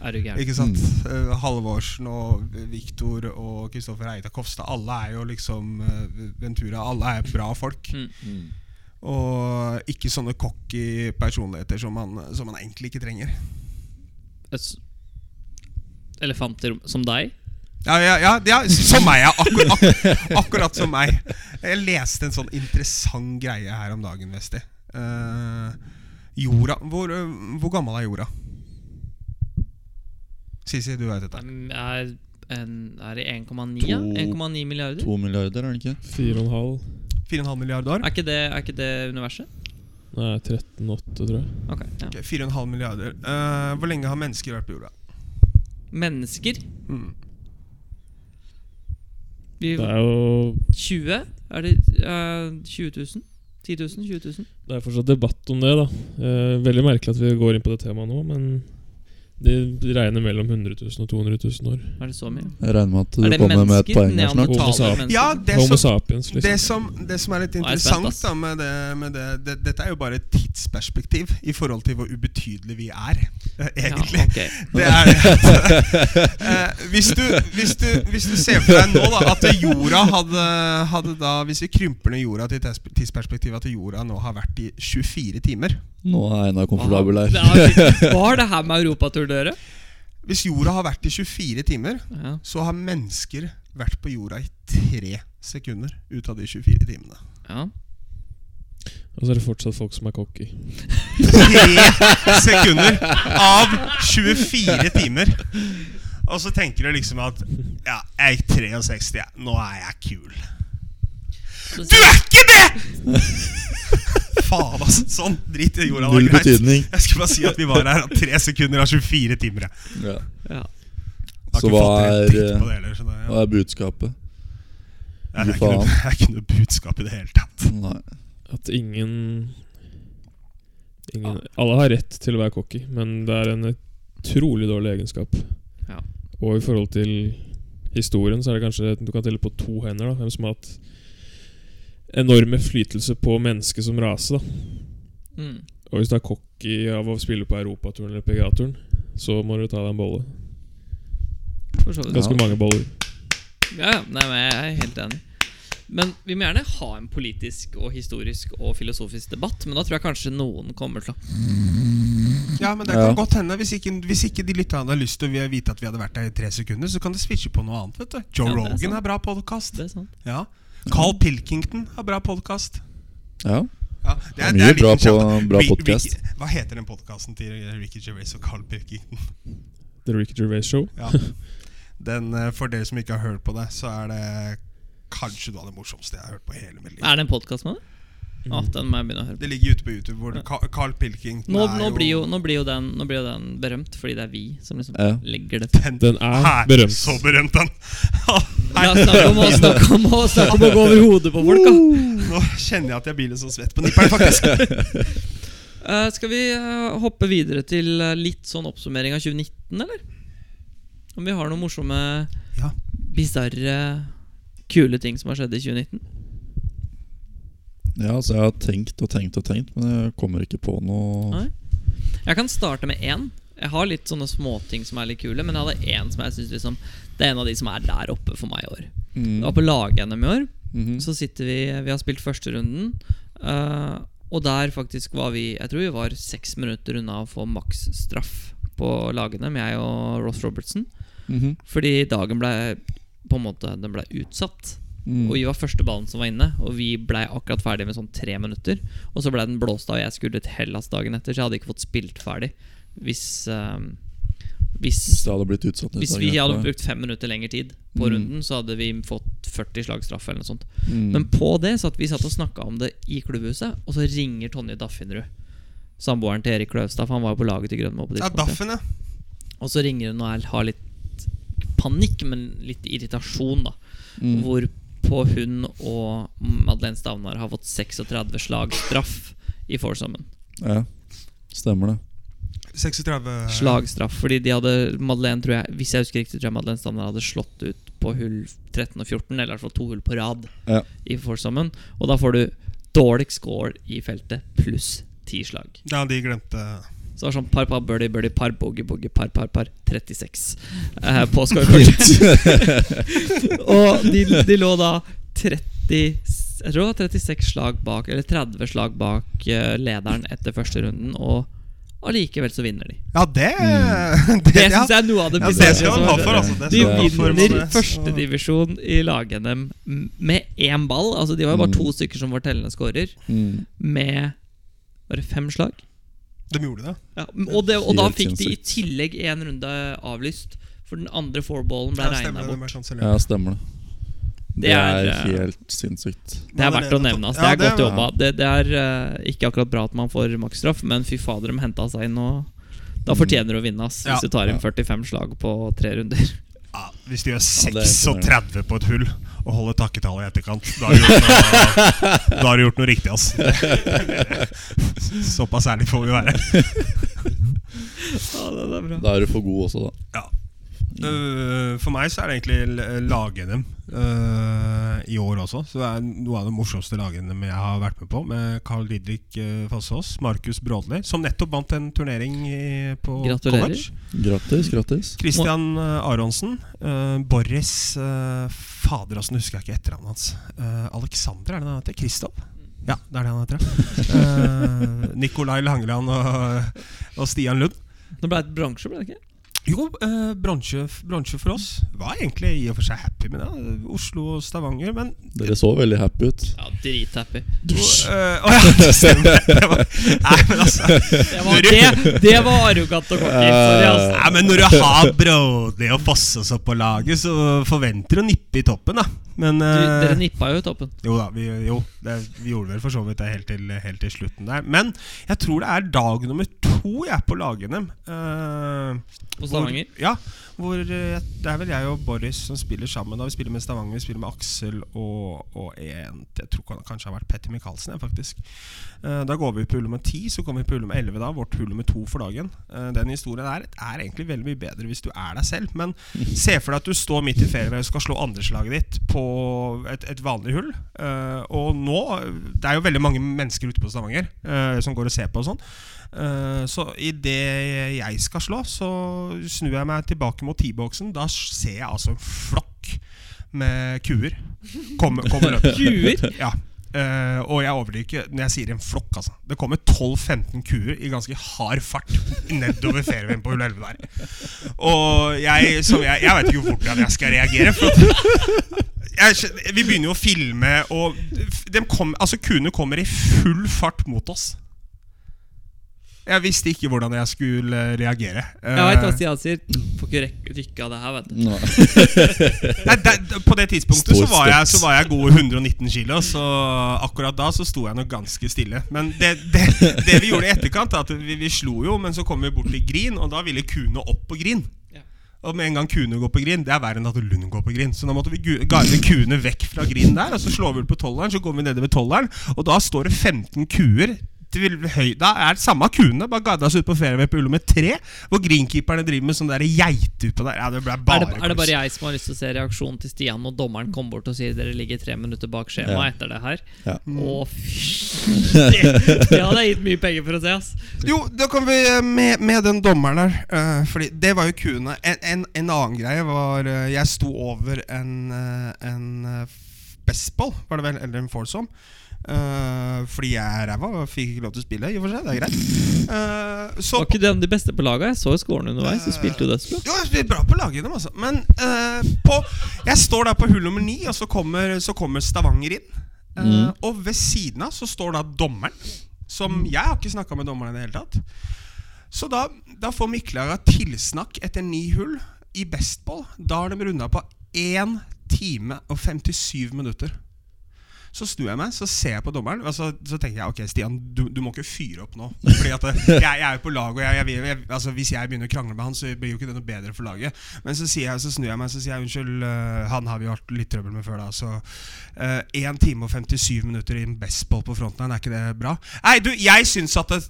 Speaker 3: Er du gæren?
Speaker 1: Ikke sant? Eh, Halvorsen og Viktor og Kristoffer Eida Kofstad. Alle er jo liksom eh, Ventura. Alle er bra folk.
Speaker 3: Mm.
Speaker 2: Mm.
Speaker 1: Og ikke sånne cocky personligheter som man, som man egentlig ikke trenger.
Speaker 3: Et s- Elefanter som deg?
Speaker 1: Ja, ja, ja, ja som meg. Ja. Akkur, akkur, akkurat som meg. Jeg leste en sånn interessant greie her om dagen, Vesti. Eh, jorda hvor, eh, hvor gammel er jorda? Sisi, du vet dette.
Speaker 3: Um, Er, en, er det 1,9
Speaker 2: To-
Speaker 3: ja? 1,9 milliarder?
Speaker 2: To milliarder, er det ikke?
Speaker 4: Fire og en halv.
Speaker 1: 4,5 milliarder år?
Speaker 3: Er ikke, det, er ikke det universet?
Speaker 4: Nei, 13,8, tror jeg.
Speaker 3: Ok, ja.
Speaker 1: Ok, 4,5 milliarder. Eh, hvor lenge har mennesker vært på jorda?
Speaker 3: Mennesker?
Speaker 1: Mm.
Speaker 3: Vi,
Speaker 4: Det er jo
Speaker 3: 20? Er det eh, 20 000? 10 000? 20 000?
Speaker 4: Det er fortsatt debatt om det, da. Eh, veldig merkelig at vi går inn på det temaet nå, men de regner mellom 100 000 og 200 000 år.
Speaker 3: Er det så mye?
Speaker 2: Jeg regner med at
Speaker 3: Er
Speaker 2: du
Speaker 3: det
Speaker 2: kommer med et
Speaker 3: mennesker?
Speaker 2: poeng her snart.
Speaker 4: Homo
Speaker 3: Neandertaler?
Speaker 4: sap-
Speaker 3: mennesker?
Speaker 1: Ja, det
Speaker 4: Homo
Speaker 1: som,
Speaker 4: sapiens, liksom.
Speaker 1: det, som, det som er litt
Speaker 3: Nå er jeg spent,
Speaker 1: interessant
Speaker 3: ass.
Speaker 1: da, med det, med det, det Dette er jo bare et tidsperspektiv i forhold til hvor ubetydelige vi er, eh, egentlig.
Speaker 3: Ja, ok.
Speaker 1: Det er det. Eh, hvis, du, hvis, du, hvis du ser for deg nå da, at jorda hadde, hadde da Hvis vi krymper ned jorda til tids- tidsperspektivet at jorda nå har vært i 24 timer
Speaker 2: Nå er Einar komfortabel her.
Speaker 3: Det er skikkelig- Hva har det her med europatur å gjøre?
Speaker 1: Hvis jorda har vært i 24 timer,
Speaker 3: Ja.
Speaker 1: så har mennesker vært på jorda i tre sekunder ut av de 24 timene.
Speaker 3: ja.
Speaker 4: Og så er det fortsatt folk som er cocky.
Speaker 1: Tre sekunder av 24 timer! Og så tenker du liksom at Ja, jeg gikk 63, jeg. nå er jeg kul.
Speaker 3: Så,
Speaker 1: Du er ikke det! Faen, altså. Sånn. Drit i jorda.
Speaker 2: Null
Speaker 1: Det er greit.
Speaker 2: betydning.
Speaker 1: Jeg skulle bare si at vi var her av tre sekunder av 24 timer. Jeg
Speaker 2: Ja.
Speaker 3: ja.
Speaker 1: har
Speaker 2: Så
Speaker 1: ikke
Speaker 2: hva
Speaker 1: fått en
Speaker 2: er,
Speaker 1: dritt på
Speaker 2: eh,
Speaker 1: det heller. Så det, ja.
Speaker 2: Hva er budskapet?
Speaker 1: Nei, det, er ikke noe, det er ikke noe budskap i det hele tatt.
Speaker 2: Nei.
Speaker 4: At ingen, ingen Alle har rett til å være cocky, men det er en utrolig dårlig egenskap.
Speaker 3: Ja.
Speaker 4: Og i forhold til historien, så er det kanskje Du kan telle på to hender da, hvem som har hatt enorm innflytelse på mennesket som rase. da
Speaker 3: Mm.
Speaker 4: Og hvis du er cocky av å spille på europaturen eller PGA-turen, så må du ta deg en bolle.
Speaker 3: For så vidt.
Speaker 4: Ganske mange baller.
Speaker 3: Ja, ja. Nei, men jeg er helt enig. Men vi må gjerne ha en politisk og historisk og filosofisk debatt, men da tror jeg kanskje noen kommer til å
Speaker 1: Ja, men det kan
Speaker 2: Ja.
Speaker 1: godt hende. Hvis ikke, hvis ikke de lytterne hadde lyst til å vite at vi hadde vært der i tre sekunder, så kan de switche på noe annet. vet du Joe
Speaker 3: Ja, det er sant.
Speaker 1: Rogan har bra podkast.
Speaker 3: Det er sant.
Speaker 1: Ja. Carl Pilkington har bra podkast.
Speaker 2: Ja.
Speaker 1: Ja, det
Speaker 2: Mye
Speaker 1: en liten
Speaker 2: bra på-
Speaker 1: shout-out.
Speaker 2: bra
Speaker 1: Ri- Ricky-
Speaker 2: podcast.
Speaker 1: Hva heter den podkasten til Ricky Gervais og Carl Pilkington?
Speaker 4: The Ricky Gervais Show.
Speaker 1: Ja. Den, eh, for dere som ikke har hørt på det, så er det kanskje noe av det morsomste jeg har hørt på i hele mitt liv.
Speaker 3: Er det en podkast med det? Å, den må jeg begynne å høre på.
Speaker 1: Det ligger ute på YouTube. hvor det- Ka- Carl Pilkington
Speaker 3: Nå,
Speaker 1: er
Speaker 3: nå, blir jo, nå, blir jo den, nå blir jo den berømt, fordi det er vi som liksom
Speaker 2: Ja.
Speaker 3: legger det til.
Speaker 4: Den er
Speaker 1: Her,
Speaker 4: berømt.
Speaker 1: Så berømt, han!
Speaker 3: La oss snakke om å snakke om å snakke om å gå over hodet på folk, da.
Speaker 1: Nå kjenner jeg at jeg blir litt sånn svett på nipperen, faktisk.
Speaker 3: Eh, skal vi eh, hoppe videre til eh, litt sånn oppsummering av 2019, eller? Om vi har noen morsomme,
Speaker 1: Ja.
Speaker 3: bisarre, kule ting som har skjedd i 2019?
Speaker 2: ja, så jeg har tenkt og tenkt og tenkt, men jeg kommer ikke på noe
Speaker 3: Nei. Jeg kan starte med én. Jeg har litt sånne småting som er litt kule, men jeg hadde én som jeg synes liksom Det er en av de som er der oppe for meg i år. Det var på lag-NM i år.
Speaker 2: Mm. Mhm.
Speaker 3: Så sitter vi Vi har spilt første runden. eh, og der faktisk var vi Jeg tror vi var seks minutter unna å få maksstraff på lagene, med jeg og Ross Robertson.
Speaker 2: Mhm.
Speaker 3: Fordi dagen ble på en måte Den ble utsatt.
Speaker 2: Mm.
Speaker 3: Og vi var første ballen som var inne, og vi blei akkurat ferdig med sånn tre minutter. Og så blei den blåst av, og jeg skulle til Hellas dagen etter, så jeg hadde ikke fått spilt ferdig hvis eh,
Speaker 2: Hvis
Speaker 3: Hvis,
Speaker 2: det hadde blitt utsatt
Speaker 3: hvis vi hadde brukt fem minutter lengre tid på
Speaker 2: Mm.
Speaker 3: runden, så hadde vi fått 40 slag straff eller noe sånt.
Speaker 2: mm.
Speaker 3: Men på det satt vi satt og snakka om det i klubbhuset, og så ringer Tonje Daffinrud. Samboeren til Erik Løvstad, for han var jo på laget til Grønmo. på
Speaker 1: Ja,
Speaker 3: tidspunktet.
Speaker 1: Daffen, ja.
Speaker 3: Og så ringer hun og er- har litt panikk, men litt irritasjon, da.
Speaker 2: Mm.
Speaker 3: Hvorpå hun og Madeleine Stavnar har fått 36 slag straff i foursomen.
Speaker 2: Ja, stemmer det.
Speaker 1: 36
Speaker 3: Slagstraff, fordi de hadde Madeleine, tror jeg, hvis jeg husker riktig, tror jeg Madeleine Stavnar hadde slått ut på hull 13 og 14, eller i hvert fall to hull på rad
Speaker 2: Ja.
Speaker 3: i foursomen. Og da får du dårlig score i feltet pluss ti slag.
Speaker 1: Ja, de glemte
Speaker 3: Så det var sånn par, par, birdie, birdie, par, bogey, bogey, par, par, par 36 eh, på scorekortet. og de, de lå da 30 Jeg tror det var 36 slag bak, eller 30 slag bak eh, lederen etter første runden, og allikevel så vinner de.
Speaker 1: Ja, det
Speaker 3: Mm. Det
Speaker 1: ja.
Speaker 3: syns jeg er noe av det
Speaker 1: Ja, det
Speaker 3: bisarre
Speaker 1: skal
Speaker 3: som
Speaker 1: han
Speaker 3: har
Speaker 1: ha
Speaker 3: skjedd.
Speaker 1: for, altså. Det
Speaker 3: De
Speaker 1: skal han ha for,
Speaker 3: vinner
Speaker 1: Mats.
Speaker 3: førstedivisjon i lag-NM med én ball. Altså De var jo bare
Speaker 2: Mm.
Speaker 3: to stykker som var tellende scorer,
Speaker 2: Mm.
Speaker 3: med bare fem slag.
Speaker 1: De gjorde det.
Speaker 3: Ja, og, det, og da
Speaker 2: Helt
Speaker 3: fikk de i tillegg en runde avlyst, for den andre fourballen ble
Speaker 1: Ja, stemmer
Speaker 3: regna
Speaker 1: det,
Speaker 3: bort.
Speaker 1: de er sånn kansellert.
Speaker 2: Ja, stemmer det. Det,
Speaker 3: Det er,
Speaker 2: er,
Speaker 3: eh,
Speaker 2: helt sinnssykt.
Speaker 3: Det er verdt å nevne. Altså. Det er godt
Speaker 2: ja.
Speaker 3: jobba. Det, det er eh, ikke akkurat bra at man får maksstraff, men fy fader, de henta seg inn og Da fortjener du å vinne, ass,
Speaker 1: Ja.
Speaker 3: hvis du tar inn 45 slag på tre runder.
Speaker 1: Ja, hvis de gjør
Speaker 2: Ja, det er
Speaker 1: 36 på et hull og holder takketallet i etterkant, da har du gjort noe, da har du gjort noe riktig, altså. Såpass ærlig får vi være.
Speaker 3: Ja, det, er bra.
Speaker 2: Da er du for god også, da.
Speaker 1: Ja. Øh, for meg så er det egentlig l- lag-NM øh, i år også. Så det er noe av det morsomste lag-NM jeg har vært med på. Med Carl Didrik øh, Fossås, Markus Brådli, som nettopp vant en turnering i, på
Speaker 3: Gratulerer.
Speaker 1: college.
Speaker 2: Grattis, grattis.
Speaker 1: Christian øh, Aronsen. øh, Boris øh, Fader, altså, nå husker jeg ikke etternavnet hans. Øh, Alexander, er det det han heter? Kristoff? Ja, det er det han heter. ja. Øh, Nikolai Langeland og, og Stian Lund.
Speaker 3: Det ble et bransje, ble det ikke?
Speaker 1: Jo, eh, bransje, bransje for oss var egentlig i og for seg happy med det. Oslo og Stavanger, men
Speaker 2: Dere så veldig happy ut.
Speaker 3: Ja, drithappy.
Speaker 1: Dusj! eh, Å ja, det stemmer. Det var- Nei, men altså
Speaker 3: Det var, det, det var arrogant og cocky. Sorry, ass.
Speaker 1: Nei, men Når du har Brådli og Fossås opp på laget, så forventer du å nippe i toppen, da. Men
Speaker 3: Du,
Speaker 1: eh,
Speaker 3: dere nippa jo i toppen.
Speaker 1: Jo da, vi, jo, det, vi gjorde vel for så vidt det helt til, helt til slutten der. Men jeg tror det er dag nummer to jeg er på lag-NM. Eh,
Speaker 3: På Stavanger.
Speaker 1: Hvor, ja, hvor eh, det er vel jeg og Boris som spiller sammen. Da vi spiller med Stavanger, vi spiller med Aksel og, og en Jeg tror kan- kanskje har vært Petter Michaelsen, jeg, faktisk. Eh, Da går vi på hull nummer 10, så kommer vi på hull nummer 11, da, vårt hull nummer 2 for dagen. Eh, Den historien her er egentlig veldig mye bedre hvis du er deg selv, men se for deg at du står midt i fairway og skal slå andreslaget ditt på et, et vanlig hull. Eh, Og nå Det er jo veldig mange mennesker ute på Stavanger eh, som går og ser på og sånn. Eh, Så idet jeg skal slå, så snur jeg meg tilbake mot T-boksen. Da ser jeg altså en flokk med kuer komme, komme løpende.
Speaker 3: Kuer?
Speaker 1: Ja. Eh, og jeg overdriver ikke når jeg sier en flokk. altså Det kommer 12-15 kuer i ganske hard fart nedover fairwayen på hull 11 der. Og jeg, som jeg, jeg vet ikke hvordan jeg skal reagere. For at jeg, skjønner- vi begynner jo å filme, og dem kom, altså kuene kommer i full fart mot oss. Jeg visste ikke hvordan jeg skulle eh, reagere. Eh,
Speaker 3: Jeg veit hva Stian sier. Får ikke rekke- rykke av det her, vet du.
Speaker 2: Nei.
Speaker 1: Nei, der, på det tidspunktet
Speaker 2: Står
Speaker 1: så var, jeg,
Speaker 2: støtt.
Speaker 1: så var jeg gode 119 kilo, så akkurat da så sto jeg nok ganske stille. Men det, det, det vi gjorde i etterkant, er at vi, vi slo jo, men så kom vi bort til Grin, og da ville kuene opp på Grin.
Speaker 3: Ja.
Speaker 1: Og med en gang kuene går på Grin, det er verre enn at Lund går på Grin. Så da måtte vi gu- guide kuene vekk fra Grin der, og så slår vi ut på tolleren, så går vi nede ved tolleren, og da står det 15 kuer. Til høy, da er det samme kuene, bare guida oss ut på fairway på Ullum med tre. Hvor greenkeeperne driver med sånn der geiter på der. Ja, det ble
Speaker 3: Er
Speaker 1: bare
Speaker 3: det, er det
Speaker 1: kos.
Speaker 3: bare jeg som har lyst til å se reaksjonen til Stian når dommeren kommer bort og sier dere ligger tre minutter bak skjemaet
Speaker 2: Ja.
Speaker 3: etter det her?
Speaker 2: Ja.
Speaker 3: Å, fy Det, det hadde jeg gitt mye penger for å se, ass.
Speaker 1: Jo, da kan vi eh, med, med den dommeren der. eh, fordi det var jo kuene. En, en, en annen greie var eh, Jeg sto over en, uh, en eh, f- bestball, var det vel, eller en foursome. Eh, fordi jeg er ræva og fikk ikke lov til å spille. I og for seg, det er greit. Eh, så
Speaker 3: Var ikke den de beste på laget? Jeg så jo scorene underveis. Du spilte jo dødsbra.
Speaker 1: jo, vi er bra på å lage dem, altså. Men eh, på, jeg står da på hull nummer ni, og så kommer, så kommer Stavanger inn. Eh, Og ved siden av så står da dommeren, som jeg har ikke snakka med dommeren i det hele tatt. Så da, da får Miklaga tilsnakk etter ni hull i bestball. Da har de runda på 1 time og 57 minutter. Så snur jeg meg, så ser jeg på dommeren, og så, så tenker jeg ok, Stian, du, du må ikke fyre opp nå. Fordi at eh, jeg, jeg er jo på lag, og jeg, jeg, vil- jeg, altså, hvis jeg begynner å krangle med han, så blir jo ikke det noe bedre for laget. Men så, sier jeg, så snur jeg meg så sier jeg, unnskyld, eh, han har vi jo hatt litt trøbbel med før, da. Så eh, 1 time og 57 minutter i en bestball på fronten her, er ikke det bra? Nei, du, jeg syns at det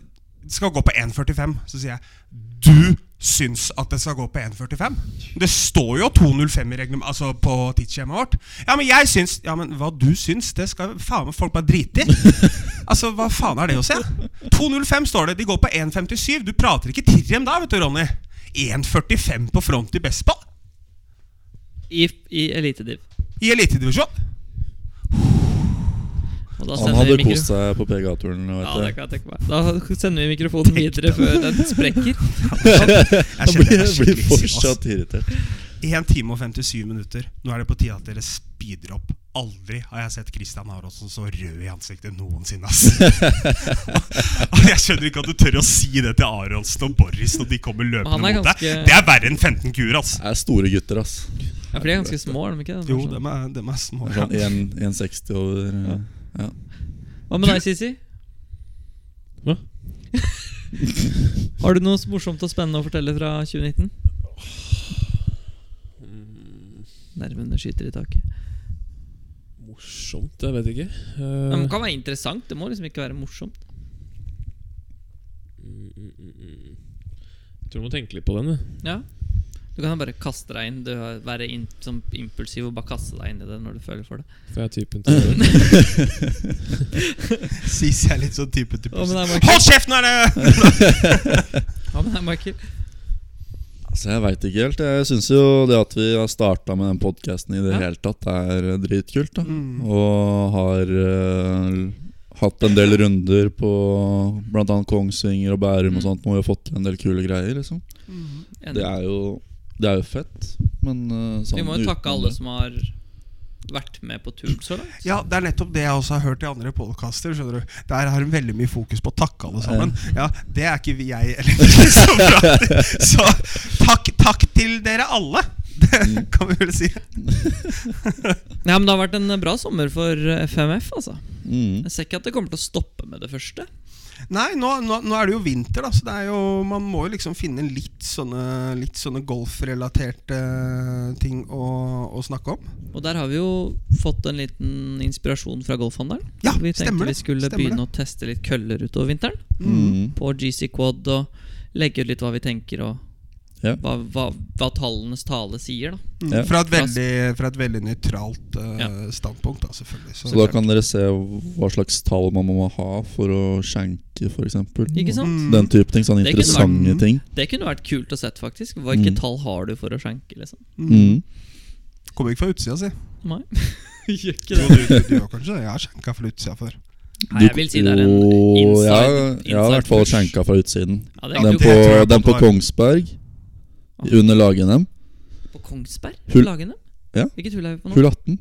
Speaker 1: skal gå på 1,45. Så sier jeg, du syns at det skal gå på 1,45? Det står jo 2,05 i reglement, altså på tidsskjemaet vårt. Ja, men jeg syns Ja, men hva du syns, det skal faen meg folk bare drite i. Altså, hva faen er det å se? 2,05 står det. De går på 1,57. Du prater ikke Tirrem da, vet du, Ronny. 1,45 på front i bestball
Speaker 3: I, i elitediv.
Speaker 1: i elitedivisjon. Sånn.
Speaker 3: Og da
Speaker 2: Han
Speaker 3: sender vi
Speaker 2: hadde
Speaker 3: mikro-
Speaker 2: kost seg på PGA-turen.
Speaker 3: Ja,
Speaker 2: vet
Speaker 3: det
Speaker 2: jeg.
Speaker 3: kan jeg tenke meg. Da sender vi mikrofonen videre før den sprekker.
Speaker 1: Jeg kjenner
Speaker 2: Jeg
Speaker 1: meg
Speaker 2: blir, jeg blir
Speaker 1: skikkelig sint.
Speaker 2: fortsatt irritert.
Speaker 1: 1 time og 57 minutter. Nå er det på tide at dere speeder opp. Aldri har jeg sett Christian Aronsen så rød i ansiktet noensinne. Ass. Og jeg skjønner ikke at du tør å si det til Aronsen og Boris når de kommer løpende
Speaker 3: Han er
Speaker 1: mot deg.
Speaker 3: ganske-
Speaker 1: Det er verre enn 15 kuer, ass.
Speaker 2: Det er store gutter, ass.
Speaker 3: Ja, for de er ganske små, er de ikke?
Speaker 1: Jo, dem er, dem er små.
Speaker 2: Sånn 1 1,60 over eh. ja. Ja.
Speaker 3: Hva med deg, Sisi?
Speaker 4: Hva?
Speaker 3: Har du noe morsomt og spennende å fortelle fra 2019? Nervene skyter i taket.
Speaker 4: Morsomt, jeg vet ikke. Eh,
Speaker 3: Men det kan være interessant. Det må liksom ikke være morsomt.
Speaker 4: jeg tror du må tenke litt på den. jeg.
Speaker 3: Ja Du kan jo bare kaste deg inn. Du har- Være in, som impulsiv og bare kaste deg inn i det når du føler for det.
Speaker 4: For jeg er typen til å
Speaker 1: Sisi er litt sånn type til
Speaker 3: Hva med deg, Michael?
Speaker 1: Hold kjeft, nå er det
Speaker 3: Hva med deg, Michael?
Speaker 2: Altså, jeg veit ikke helt. Jeg syns jo det at vi har starta med den podkasten i det
Speaker 3: Ja.
Speaker 2: hele tatt, er dritkult. da Og har eh, hatt en del runder på bl.a. Kongsvinger og Bærum og sånt, hvor vi har fått til en del kule greier. liksom
Speaker 3: Mm. Enig.
Speaker 2: Det er jo, det er jo fett, men eh, sånn
Speaker 3: Vi må jo
Speaker 2: utenom
Speaker 3: takke alle
Speaker 2: det-
Speaker 3: som har vært med på turen så langt.
Speaker 1: Ja, det er nettopp det jeg også har hørt i andre podkaster. skjønner du Der har de veldig mye fokus på å takke alle sammen. Ja, Det er ikke vi jeg eller som prater. Så takk, takk til dere alle, det
Speaker 2: Mm.
Speaker 1: kan vi vel si.
Speaker 3: Nei, men Det har vært en bra sommer for eh, FMF. altså
Speaker 2: Mm.
Speaker 3: Jeg ser ikke at det kommer til å stoppe med det første.
Speaker 1: Nei, nå, nå, nå er det jo vinter, da, så det er jo, man må jo liksom finne litt sånne, litt sånne golfrelaterte ting å, å snakke om.
Speaker 3: Og der har vi jo fått en liten inspirasjon fra golfhandelen.
Speaker 1: Ja,
Speaker 3: vi tenkte
Speaker 1: stemmer det.
Speaker 3: vi skulle
Speaker 1: stemmer
Speaker 3: begynne å teste litt køller utover vinteren.
Speaker 2: Mm.
Speaker 3: På GC Quad og legge ut litt hva vi tenker, og
Speaker 2: Ja.
Speaker 3: hva, hva, hva tallenes tale sier. da
Speaker 1: Mm.
Speaker 2: Ja.
Speaker 1: Fra, et veldig, fra et veldig nøytralt eh,
Speaker 3: Ja.
Speaker 1: standpunkt, da, selvfølgelig.
Speaker 2: Så da kan dere se hva slags tall man må ha for å skjenke, f.eks.
Speaker 3: Ikke sant?
Speaker 1: Mm.
Speaker 2: Den type ting. Sånne
Speaker 3: Det kunne vært-
Speaker 2: interessante ting.
Speaker 3: Det kunne vært kult å sett, faktisk. Hvilke
Speaker 2: Mm.
Speaker 3: tall har du for å skjenke? liksom
Speaker 1: Mm.
Speaker 2: Mm.
Speaker 1: Kommer ikke fra utsida, si.
Speaker 3: Nei. Gjør
Speaker 1: Jo,
Speaker 3: ikke det.
Speaker 1: du, du, du gjør kanskje det. Jeg har skjenka fra utsida før.
Speaker 3: Nei, jeg vil si det er en
Speaker 2: Jo,
Speaker 3: inside.
Speaker 2: jeg- Jeg har i
Speaker 3: inside
Speaker 2: hvert fall
Speaker 3: push.
Speaker 2: skjenka fra utsiden. Den
Speaker 3: Ja, det er
Speaker 1: det
Speaker 3: ikke
Speaker 2: på,
Speaker 3: noe
Speaker 1: tror jeg
Speaker 2: den på
Speaker 1: på.
Speaker 2: Kongsberg, under lag-NM.
Speaker 3: på Kongsberg?
Speaker 2: Hull-
Speaker 3: Lagene?
Speaker 2: Ja.
Speaker 3: Hvilket hull er vi på nå?
Speaker 2: Hull 18.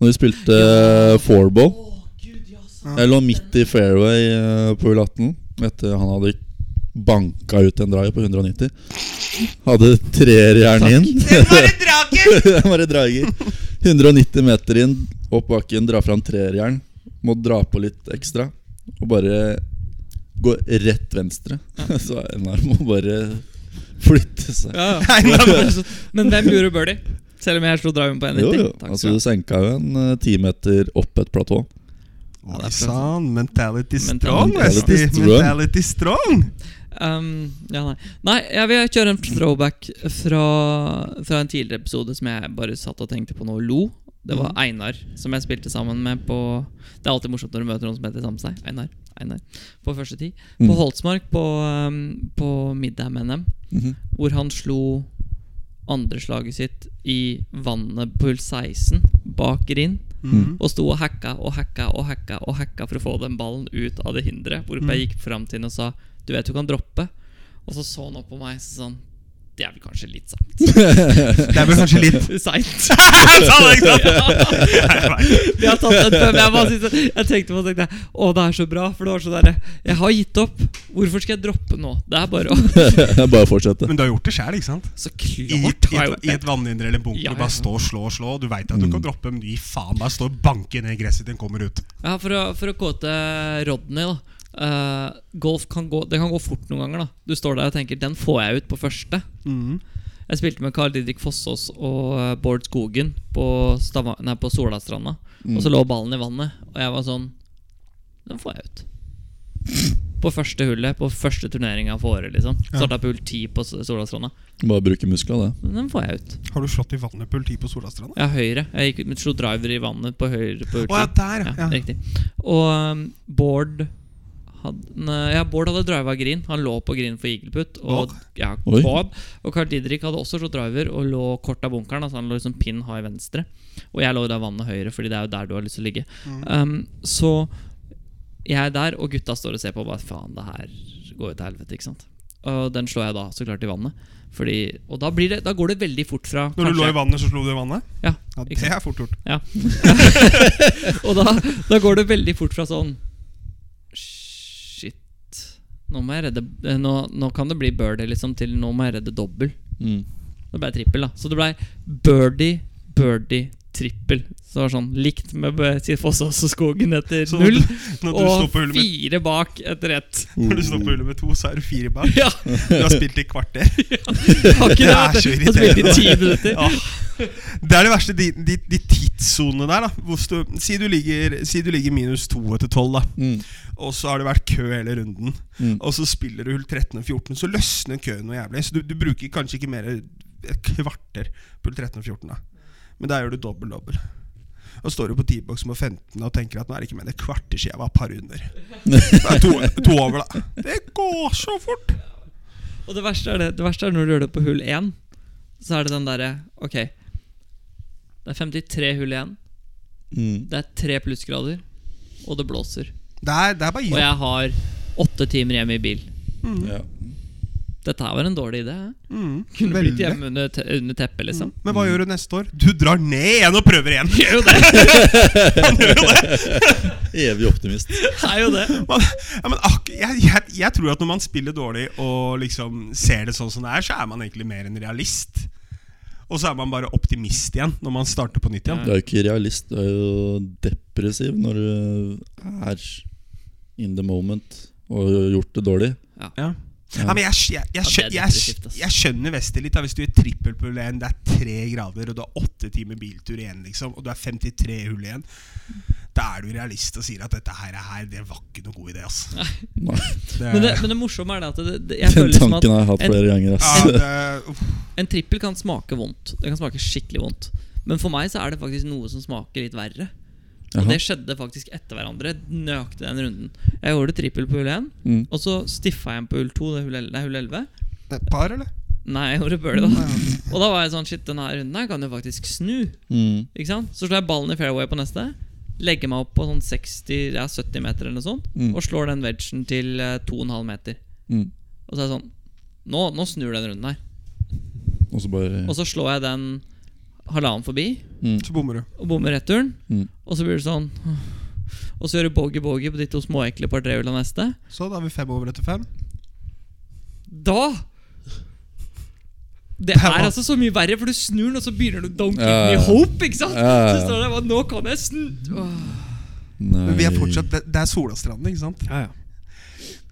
Speaker 2: Når vi spilte
Speaker 3: Ja.
Speaker 2: eh, fourball.
Speaker 3: Å, Gud, ja, sant.
Speaker 2: Jeg lå midt i fairway eh, på hull 18 etter han hadde banka ut en drive på 190. Hadde treerjern inn. Det var en drager! 190 meter inn, opp bakken, dra fram treerjern. Må dra på litt ekstra. Og bare gå rett venstre. Så er en arm og bare flytte seg.
Speaker 3: Ja, ja. Men- Men hvem gjorde birdie? Selv om jeg slo driven på
Speaker 2: Jo,
Speaker 3: 1,90.
Speaker 2: jo.
Speaker 3: Takk
Speaker 2: Altså,
Speaker 3: skal
Speaker 2: du senka jo en eh, ti meter opp et platå.
Speaker 3: Ja, det
Speaker 1: Oi
Speaker 3: er
Speaker 1: sann, mentality strong,
Speaker 3: Mentality
Speaker 1: Westy.
Speaker 2: strong.
Speaker 1: Mentality strong.
Speaker 3: ha. um, ja, nei. nei, jeg vil kjøre en throwback fra, fra en tidligere episode som jeg bare satt og tenkte på nå og lo. Det var
Speaker 2: Mhm.
Speaker 3: Einar som jeg spilte sammen med på Det er alltid morsomt når du møter noen som heter sammen med seg. Einar, Einar. På første tid. På
Speaker 2: Mm.
Speaker 3: Holtsmark, på, um, på middag-NM,
Speaker 2: Mhm.
Speaker 3: hvor han slo andreslaget sitt i vannet på hull 16 bak grind.
Speaker 1: Mm.
Speaker 3: Og sto og hacka og hacka og hacka og hacka for å få den ballen ut av det hinderet. Hvorpå
Speaker 1: Mm.
Speaker 3: jeg gikk fram til henne og sa Du vet du kan droppe. Og så så han opp på meg sånn Det er vel kanskje litt sant.
Speaker 1: Det er vel kanskje litt
Speaker 3: Seint.
Speaker 1: Sa det ikke sant?
Speaker 3: Vi har tatt den før, men jeg, bare synes, jeg tenkte på det og tenkte Å, det er så bra, for det var så derre Jeg har gitt opp. Hvorfor skal jeg droppe nå? Det er bare å
Speaker 2: Bare fortsette.
Speaker 1: Men du har gjort det sjæl, ikke sant?
Speaker 3: Så
Speaker 1: I,
Speaker 3: klart
Speaker 1: i,
Speaker 3: har jeg
Speaker 1: et,
Speaker 3: gjort
Speaker 1: I
Speaker 3: det.
Speaker 1: et vannhinder eller en bunker.
Speaker 3: Ja, ja,
Speaker 1: Bare
Speaker 3: ja.
Speaker 1: stå, slå, slå. Du veit at du kan droppe, men du gir faen. Bare stå og banke ned i gresset til den kommer ut.
Speaker 3: Ja, for å, for å kåte Rodney, da. Eh, golf kan gå, det kan gå fort noen ganger. da Du står der og tenker 'den får jeg ut på første'.
Speaker 1: Mhm.
Speaker 3: Jeg spilte med Carl Didrik Fossås og eh, Bård Skogen på, Stava- nei, på Solastranda.
Speaker 2: Mm.
Speaker 3: Og
Speaker 1: Mm.
Speaker 3: så lå ballen i vannet, og jeg var sånn Den får jeg ut. På første hullet, på første turneringa for året, liksom.
Speaker 1: Ja.
Speaker 3: Starta på hull 10 på S- Solastranda.
Speaker 2: Bare bruke muskla, det.
Speaker 3: Men den får jeg ut.
Speaker 1: Har du slått i vannet på hull 10 på Solastranda?
Speaker 3: Jeg er høyre. Jeg gikk ut med slo driver i vannet på høyre på hull
Speaker 1: Å ja,
Speaker 3: 10.
Speaker 1: der,
Speaker 3: Ja,
Speaker 1: ja.
Speaker 3: riktig. Og um, Bård hadde, nei, ja, Bård hadde driva green. Han lå på green for eagleputt. Og,
Speaker 1: Bård?
Speaker 3: ja,
Speaker 2: Oi.
Speaker 3: Bård. og Carl Didrik hadde også slått driver og lå kort av bunkeren. Altså han lå liksom pin high venstre. Og jeg lå da vannet høyre, Fordi det er jo der du har lyst til å ligge.
Speaker 1: Mm.
Speaker 3: Um, så jeg er der, og gutta står og ser på. Hva faen, det her går jo til helvete, ikke sant? Og den slår jeg da så klart i vannet. Fordi, og da, blir det, da går det veldig fort fra
Speaker 1: Når du lå
Speaker 3: kanskje-
Speaker 1: i vannet, så slo du i vannet?
Speaker 3: Ja,
Speaker 1: Ja,
Speaker 3: ikke
Speaker 1: Det er fort gjort.
Speaker 3: ja. og da, da går det veldig fort fra sånn Shit. Nå må jeg redde eh, Nå, nå kan det bli birdie, liksom, til nå må jeg redde dobbel.
Speaker 2: Mm.
Speaker 3: Det ble trippel, da. Så det ble birdie, birdie, trippel. Så det var sånn likt med Fossås og Skogen etter
Speaker 1: Så når
Speaker 3: null.
Speaker 1: Sånn du- Når du står
Speaker 3: Og
Speaker 1: på hullet med,
Speaker 3: fire bak etter ett.
Speaker 1: når du står på hullet med to, så er du fire bak.
Speaker 3: Ja,
Speaker 1: Du har spilt i kvarter.
Speaker 3: har ikke det,
Speaker 1: er
Speaker 3: vet
Speaker 1: så
Speaker 3: du. Han spilte
Speaker 1: irriterende.
Speaker 3: i ti minutter.
Speaker 1: Ja. Det er det verste, de, de, de tidssonene der. da Hvis du, si, du ligger, si du ligger minus to etter tolv, da.
Speaker 2: Mm.
Speaker 1: Og så har det vært kø hele runden.
Speaker 2: Mm.
Speaker 1: Og så spiller du hull 13 og 14, så løsner køen noe jævlig. Så du, du bruker kanskje ikke mer et kvarter på hull 13 og 14, da. Men der gjør du dobbel-dobbel. Og står du på T-box med 15 og tenker at nå er det ikke mer enn et kvarter siden jeg var par under. Det er to, to over, da. Det går så fort!
Speaker 3: Og det verste er det Det verste er når du gjør det på hull 1 Så er det den derre Ok Det er 53 hull igjen
Speaker 2: Mm.
Speaker 3: Det er 3 plussgrader Og det blåser
Speaker 1: Det er, det er bare å
Speaker 3: Og
Speaker 1: gi opp.
Speaker 3: jeg har 8 timer hjemme i bil
Speaker 2: Ja.
Speaker 3: Dette her var en dårlig idé hæ?
Speaker 1: Mm,
Speaker 3: Kunne blitt
Speaker 1: veldig.
Speaker 3: hjemme under, te under teppet liksom
Speaker 2: Mm.
Speaker 1: Men hva gjør du neste år? Du drar ned igjen og prøver igjen!
Speaker 3: Gjør jo det
Speaker 2: Evig optimist.
Speaker 3: Er jo det
Speaker 1: Man, ja, men ak jeg, jeg, jeg tror at når man spiller dårlig og liksom ser det sånn som det er, så er man egentlig mer en realist. Og så er man bare optimist igjen når man starter på nytt igjen.
Speaker 2: Du er jo ikke realist, du er jo depressiv når du er in the moment. og gjort det dårlig.
Speaker 1: Ja, men jeg, skj- jeg, jeg,
Speaker 3: Ja,
Speaker 1: skjø-
Speaker 3: det er
Speaker 1: jeg,
Speaker 3: definitivt, altså.
Speaker 1: skj-
Speaker 3: ass.
Speaker 1: jeg skjønner Wester litt. Da, hvis du er i trippelpullen, det er tre grader, og du har åtte timer biltur igjen, liksom, og du er 53 hull igjen, da er du realist og sier at dette her, er her det var ikke noe god idé. ass.
Speaker 2: Nei,
Speaker 1: Det,
Speaker 3: Men det, men det morsomme er det at det, det, jeg
Speaker 2: Den
Speaker 3: føler som at
Speaker 2: tanken har jeg hatt
Speaker 3: en-
Speaker 2: flere ganger.
Speaker 1: ja,
Speaker 2: Ass.
Speaker 1: det, uff,
Speaker 3: en trippel kan smake vondt. Det kan smake skikkelig vondt. Men for meg så er det faktisk noe som smaker litt verre. Og
Speaker 2: Jaha.
Speaker 3: det skjedde faktisk etter hverandre. Nøyaktig den runden. Jeg gjorde trippel på hull 1,
Speaker 2: Mm.
Speaker 3: og så stiffa jeg en på hull 2, det er hull el- nei, hull 11.
Speaker 1: det er et par, eller?
Speaker 3: Nei, jeg gjorde bøle, da. Og da var jeg sånn Shit, denne runden her kan jo faktisk snu.
Speaker 2: Mm.
Speaker 3: Ikke sant? Så slår jeg ballen i fairway på neste. Legger meg opp på sånn 60, ja, 70 meter eller noe sånt.
Speaker 2: Mm.
Speaker 3: Og slår den wedgen til eh, 2,5 meter.
Speaker 2: Mm.
Speaker 3: Og så er jeg sånn Nå, nå snur den runden her.
Speaker 2: Og så bare
Speaker 3: Og så slår jeg den halvannen forbi
Speaker 2: mm.
Speaker 1: Så bommer du.
Speaker 3: og bommer returen.
Speaker 2: Mm.
Speaker 3: Og så blir det sånn «Åh». Og så gjør du bogey-bogey på de to småekle par trehulla neste.
Speaker 1: Så da har vi fem over etter fem.
Speaker 3: Da Det
Speaker 1: Der var-
Speaker 3: er altså så mye verre, for du snur den, og så begynner du Don't give
Speaker 2: Ja, ja,
Speaker 3: me
Speaker 2: ja.
Speaker 3: hope, ikke sant?
Speaker 2: Ja, ja, ja.
Speaker 3: Så står det bare Nå kan jeg snu Åh.
Speaker 2: Nei.
Speaker 1: Men vi er fortsatt, det, det er Solastranden, ikke sant?
Speaker 4: Ja, ja.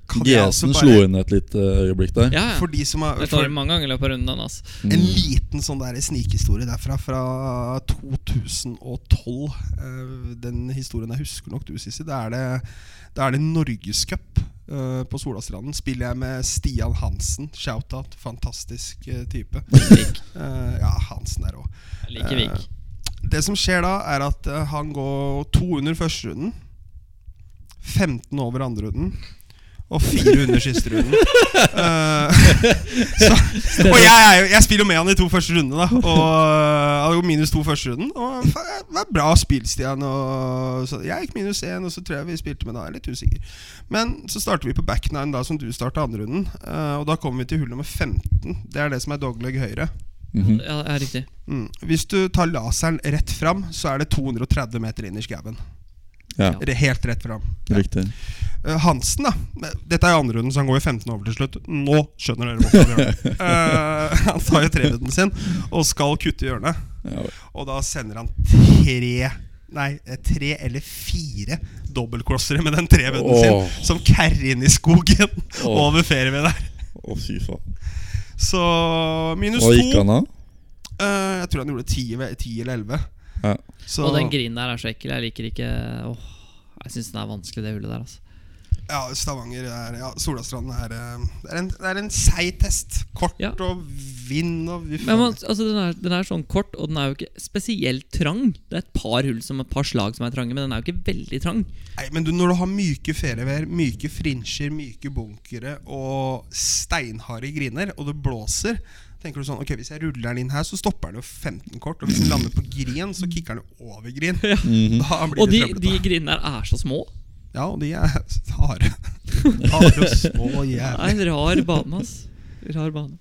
Speaker 1: Kan jeg også
Speaker 2: GS-en
Speaker 1: bare-
Speaker 2: slo inn et lite øyeblikk der.
Speaker 3: Ja, ja.
Speaker 1: For de som har
Speaker 3: Jeg tar det mange ganger i løpet av runden. den, Altså.
Speaker 1: En liten sånn der snikhistorie derfra, fra 2012. Eh, Den historien jeg husker nok du, Sissi. Da er det, da er det Norgescup eh, på Solastranden. Spiller jeg med Stian Hansen. Shout-out. Fantastisk eh, type. Eh, ja, Hansen der òg.
Speaker 3: Jeg liker Vik.
Speaker 1: Det som skjer da, er at eh, han går to under første runden. 15 over andre runden. Og fire under siste runden. Eh, så, og jeg, er jo- jeg spiller jo med han i to første rundene, da. Og eh, han går minus to første runden. Og fa- det var bra spill, Stian. Og så, jeg gikk minus én, og så tror jeg vi spilte med da. Jeg er litt usikker. Men så starter vi på back nine, da, som du starta andre runden. eh, og da kommer vi til hull nummer 15. Det er det som er dogleg høyre.
Speaker 2: Mhm.
Speaker 3: Ja, ja, riktig.
Speaker 1: Mm. Hvis du tar laseren rett fram, så er det 230 meter inn i skauen.
Speaker 2: Ja,
Speaker 1: Re- Helt rett fram.
Speaker 2: riktig.
Speaker 1: Eh, Hansen, da. Dette er i andre runden, så han går jo 15 over til slutt. Nå skjønner dere hvorfor han gjør det. Eh, han tar jo trerunden sin og skal kutte i hjørnet.
Speaker 2: Ja, vel.
Speaker 1: Og da sender han tre Nei, eh, tre eller fire dobbeltcrossere med den trerunden
Speaker 2: Åh.
Speaker 1: sin som carrer inn i skogen
Speaker 2: Åh.
Speaker 1: over ferien der.
Speaker 2: Å, fy faen.
Speaker 1: Så minus
Speaker 2: Hva gikk
Speaker 1: to.
Speaker 2: han av?
Speaker 1: Eh, jeg tror han gjorde ti, ve- ti eller elleve.
Speaker 2: Ja.
Speaker 1: Så-
Speaker 3: Og den grinen der er så ekkel. Jeg liker ikke Åh, Jeg syns den er vanskelig, det hullet der. Altså.
Speaker 1: Ja, Stavanger er ja, Solastranden er eh, Det er en, det er en seig test. Kort
Speaker 3: Ja.
Speaker 1: og vind og vi
Speaker 3: Men man,
Speaker 1: faen.
Speaker 3: altså, den, er, den er sånn kort, og den er jo ikke spesielt trang. Det er et par hull som et par slag som er trange, men den er jo ikke veldig trang.
Speaker 1: Nei, men du, når du har myke ferievær, myke frinsjer, myke bunkere og steinharde griner, og det blåser Tenker du sånn, ok, Hvis jeg ruller den inn her, så stopper den jo 15 kort. Og hvis den lander på grin, så kicker den jo over grin. Da blir
Speaker 3: Og de,
Speaker 1: det
Speaker 3: de
Speaker 1: trøblete.
Speaker 3: grinene der er så små.
Speaker 1: Ja, og de er harde. harde og små og jævlig.
Speaker 3: Det er en rar bane, ass. Rar bane.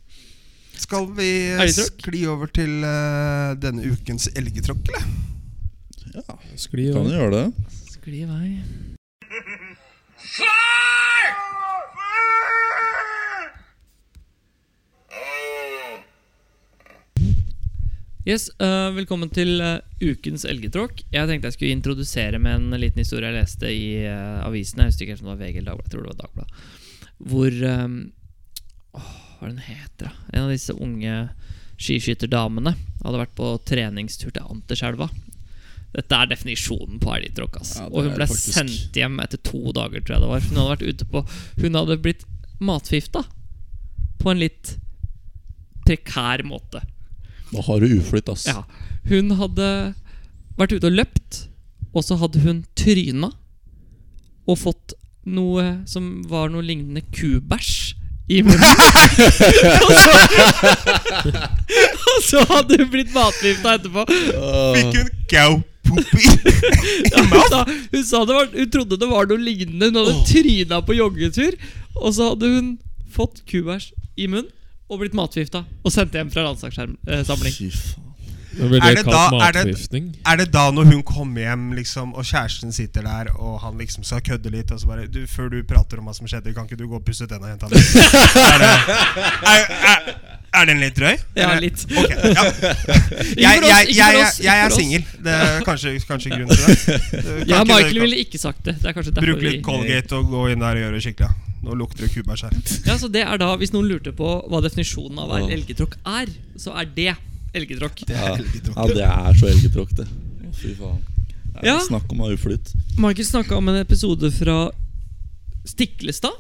Speaker 1: Skal vi eh,
Speaker 3: Elgetråkk?
Speaker 1: skli over til eh, denne ukens elgetråkk, eller?
Speaker 4: Skli
Speaker 2: Kan
Speaker 4: over.
Speaker 2: jo gjøre det.
Speaker 3: Skli i vei. Yes, eh, Velkommen til eh, ukens elgetråk. Jeg tenkte jeg skulle introdusere med en liten historie jeg leste i eh, avisen. Jeg husker ikke helt om det var VG eller Dagbladet. Jeg tror det var Dagbladet. Hvor eh, åh, Hva er det den heter, da? En av disse unge skiskytterdamene hadde vært på treningstur til Anterselva. Dette er definisjonen på elgetråk. ass.
Speaker 2: Ja, det
Speaker 3: og
Speaker 2: er
Speaker 3: hun ble
Speaker 2: faktisk-
Speaker 3: sendt hjem etter to dager, tror jeg det var. Hun hadde vært ute på Hun hadde blitt matforgifta på en litt prekær måte.
Speaker 2: Da har du uflytt, ass.
Speaker 3: Ja. Hun hadde vært ute og løpt, og så hadde hun tryna og fått noe som var noe lignende kubæsj i munnen. og, så, og så hadde hun blitt matforgifta etterpå.
Speaker 1: Fikk hun cow-poop i
Speaker 3: Hun sa, hun, sa det var, hun trodde det var noe lignende. Hun hadde tryna på joggetur, og så hadde hun fått kubæsj i munnen. Og blitt matforgifta og sendt hjem fra landslagssamling. Eh,
Speaker 2: Fy faen.
Speaker 4: Men Blir
Speaker 1: Er
Speaker 4: det
Speaker 1: det
Speaker 4: kalt
Speaker 1: da- er det-
Speaker 4: matforgiftning?
Speaker 1: Er det da når hun kommer hjem liksom, og kjæresten sitter der og han liksom skal kødde litt og så bare du, 'Før du prater om hva som skjedde, kan ikke du gå og pusse tenna, jenta mi?' Er det- er- er- Er den litt drøy?
Speaker 3: Ja,
Speaker 1: Er det-
Speaker 3: litt.
Speaker 1: Ok, ja. Jeg,
Speaker 3: Ikke for oss,
Speaker 1: Eh, jeg, jeg,
Speaker 3: ikke
Speaker 1: jeg,
Speaker 3: for oss,
Speaker 1: jeg er
Speaker 3: ikke for oss.
Speaker 1: singel. Det er kanskje, kanskje grunnen til det. Du, kan
Speaker 3: Ja,
Speaker 1: ikke-
Speaker 3: Michael ville ikke sagt det. det er kanskje derfor
Speaker 1: Bruke
Speaker 3: vi-
Speaker 1: litt Colgate og gå inn der og gjøre det skikkelig. ja. Nå lukter det kubaskjær.
Speaker 3: Ja, så det er da, Hvis noen lurte på hva definisjonen av
Speaker 2: Ja.
Speaker 3: elgetråkk er, så er det elgetråkk.
Speaker 1: Det
Speaker 2: Ja.
Speaker 1: er elgetråkk.
Speaker 2: Ja, det er så elgetråkk, det. Å, fy faen. Det er
Speaker 3: Ja.
Speaker 2: Snakk om å ha uflytt.
Speaker 3: Michael snakka om en episode fra Stiklestad.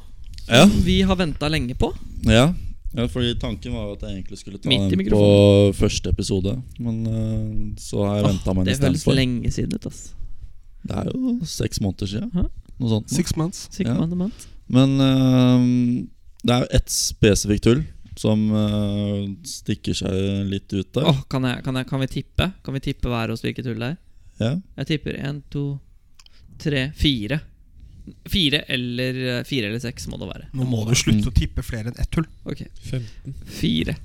Speaker 2: Ja.
Speaker 3: Som vi har venta lenge på.
Speaker 2: Ja. ja, fordi tanken var jo at jeg egentlig skulle ta
Speaker 3: Midt i
Speaker 2: den på
Speaker 3: mikrofonen.
Speaker 2: første episode. Men eh, så har jeg
Speaker 3: Åh,
Speaker 2: venta meg en
Speaker 3: det
Speaker 2: stund
Speaker 3: føles
Speaker 2: for.
Speaker 3: lenge siden ut. ass
Speaker 2: Det er jo seks måneder siden.
Speaker 3: Hæ?
Speaker 2: Noe sånt. nå.
Speaker 1: Six months.
Speaker 3: Sikkert
Speaker 2: Ja.
Speaker 3: man er ment.
Speaker 2: Men eh, det er jo ett spesifikt hull som eh, stikker seg litt ut der.
Speaker 3: Åh, kan, jeg, kan, jeg, kan vi tippe Kan vi tippe hver oss hvilket hull det er?
Speaker 2: Ja.
Speaker 3: Jeg tipper én, to, tre, fire. Fire eller, fire eller seks må det være.
Speaker 1: Nå må du
Speaker 3: Mm.
Speaker 1: slutte å tippe flere enn ett hull.
Speaker 3: Ok,
Speaker 4: 15.
Speaker 3: Fire.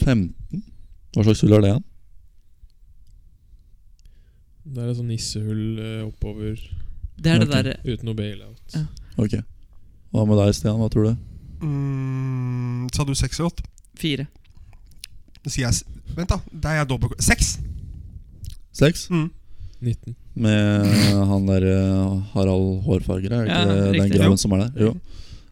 Speaker 2: 15? Hva slags hull er det igjen?
Speaker 4: Det er et sånn nissehull eh, oppover
Speaker 3: Det er det
Speaker 2: Ok.
Speaker 3: derre
Speaker 4: uten noe bailout.
Speaker 3: Ja.
Speaker 2: Ok. Hva med deg, Stian? Hva tror du?
Speaker 1: Mm, sa du seks eller åtte?
Speaker 3: fire.
Speaker 1: Da sier jeg s- Vent, da. Der er jeg dobbel Seks!
Speaker 2: Seks?
Speaker 1: Mm.
Speaker 4: 19.
Speaker 2: Med han der eh, Harald Hårfarger, er det ikke
Speaker 3: Ja,
Speaker 2: det- den
Speaker 3: riktig.
Speaker 2: graven som er der? Jo.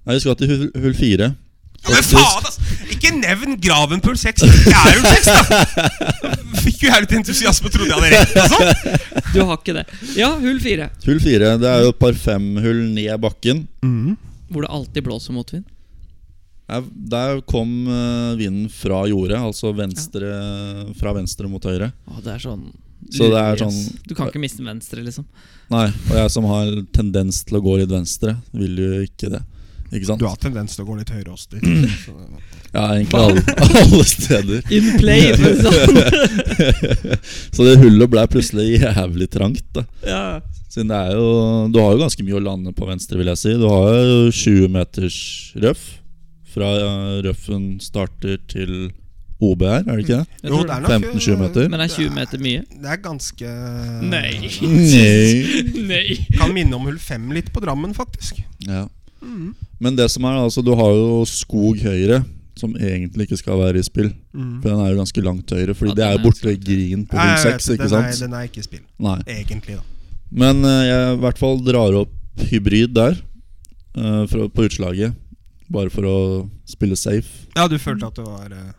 Speaker 2: Nei, vi skal til hull, hull fire.
Speaker 1: Ja, men faen, ass! Ikke nevn Gravenpool 6! Det er jo 6, da! Fikk jo jeg litt entusiasme og trodde jeg hadde rett. og sånn.
Speaker 3: Du har ikke det. Ja, hull fire.
Speaker 2: Hull fire, det er jo et par femhull ned bakken.
Speaker 3: Hvor det alltid blåser motvind.
Speaker 2: Der, der kom eh, vinden fra jordet, altså venstre, fra venstre mot høyre.
Speaker 3: Å, det er sånn
Speaker 2: Så det er
Speaker 3: lurig, ass.
Speaker 2: sånn-
Speaker 3: Du kan ikke miste den venstre, liksom.
Speaker 2: Nei, og jeg som har tendens til å gå litt venstre, vil jo ikke det. Ikke sant?
Speaker 1: Du har tendens til å gå litt høyere oss dit.
Speaker 2: Mm.
Speaker 1: så det-
Speaker 2: Ja, egentlig alle, alle steder.
Speaker 3: In play! for å si det sånn.
Speaker 2: Så det hullet ble plutselig jævlig trangt. da
Speaker 3: ja.
Speaker 2: Siden det er jo Du har jo ganske mye å lande på venstre, vil jeg si. Du har jo 20 meters røff. Fra eh, røffen starter til OB her, er det ikke det?
Speaker 3: Jeg tror
Speaker 1: det Mm. er nok,
Speaker 2: 15-20 meter.
Speaker 3: Men er 20 meter mye?
Speaker 1: Det er ganske
Speaker 3: Nei.
Speaker 2: Nei.
Speaker 3: Nei.
Speaker 1: Kan minne om hull 5 litt på Drammen, faktisk.
Speaker 2: Ja.
Speaker 1: Mm.
Speaker 2: Men det som er, altså, du har jo skog høyre, som egentlig ikke skal være i spill. For den er jo ganske langt høyre, fordi
Speaker 3: Ja,
Speaker 2: det
Speaker 3: den
Speaker 2: er
Speaker 3: er
Speaker 2: borte ved
Speaker 3: ganske langt
Speaker 2: Green på
Speaker 1: Nei,
Speaker 2: hull
Speaker 1: Mm. jeg vet
Speaker 2: 6,
Speaker 1: det.
Speaker 2: ikke
Speaker 1: Eh, den er,
Speaker 2: sant?
Speaker 1: Den er ikke i spill,
Speaker 2: Nei.
Speaker 1: egentlig, da.
Speaker 2: Men eh, jeg i hvert fall drar opp hybrid der, eh, fra- på utslaget. Bare for å spille safe.
Speaker 1: Ja, du følte at det var eh,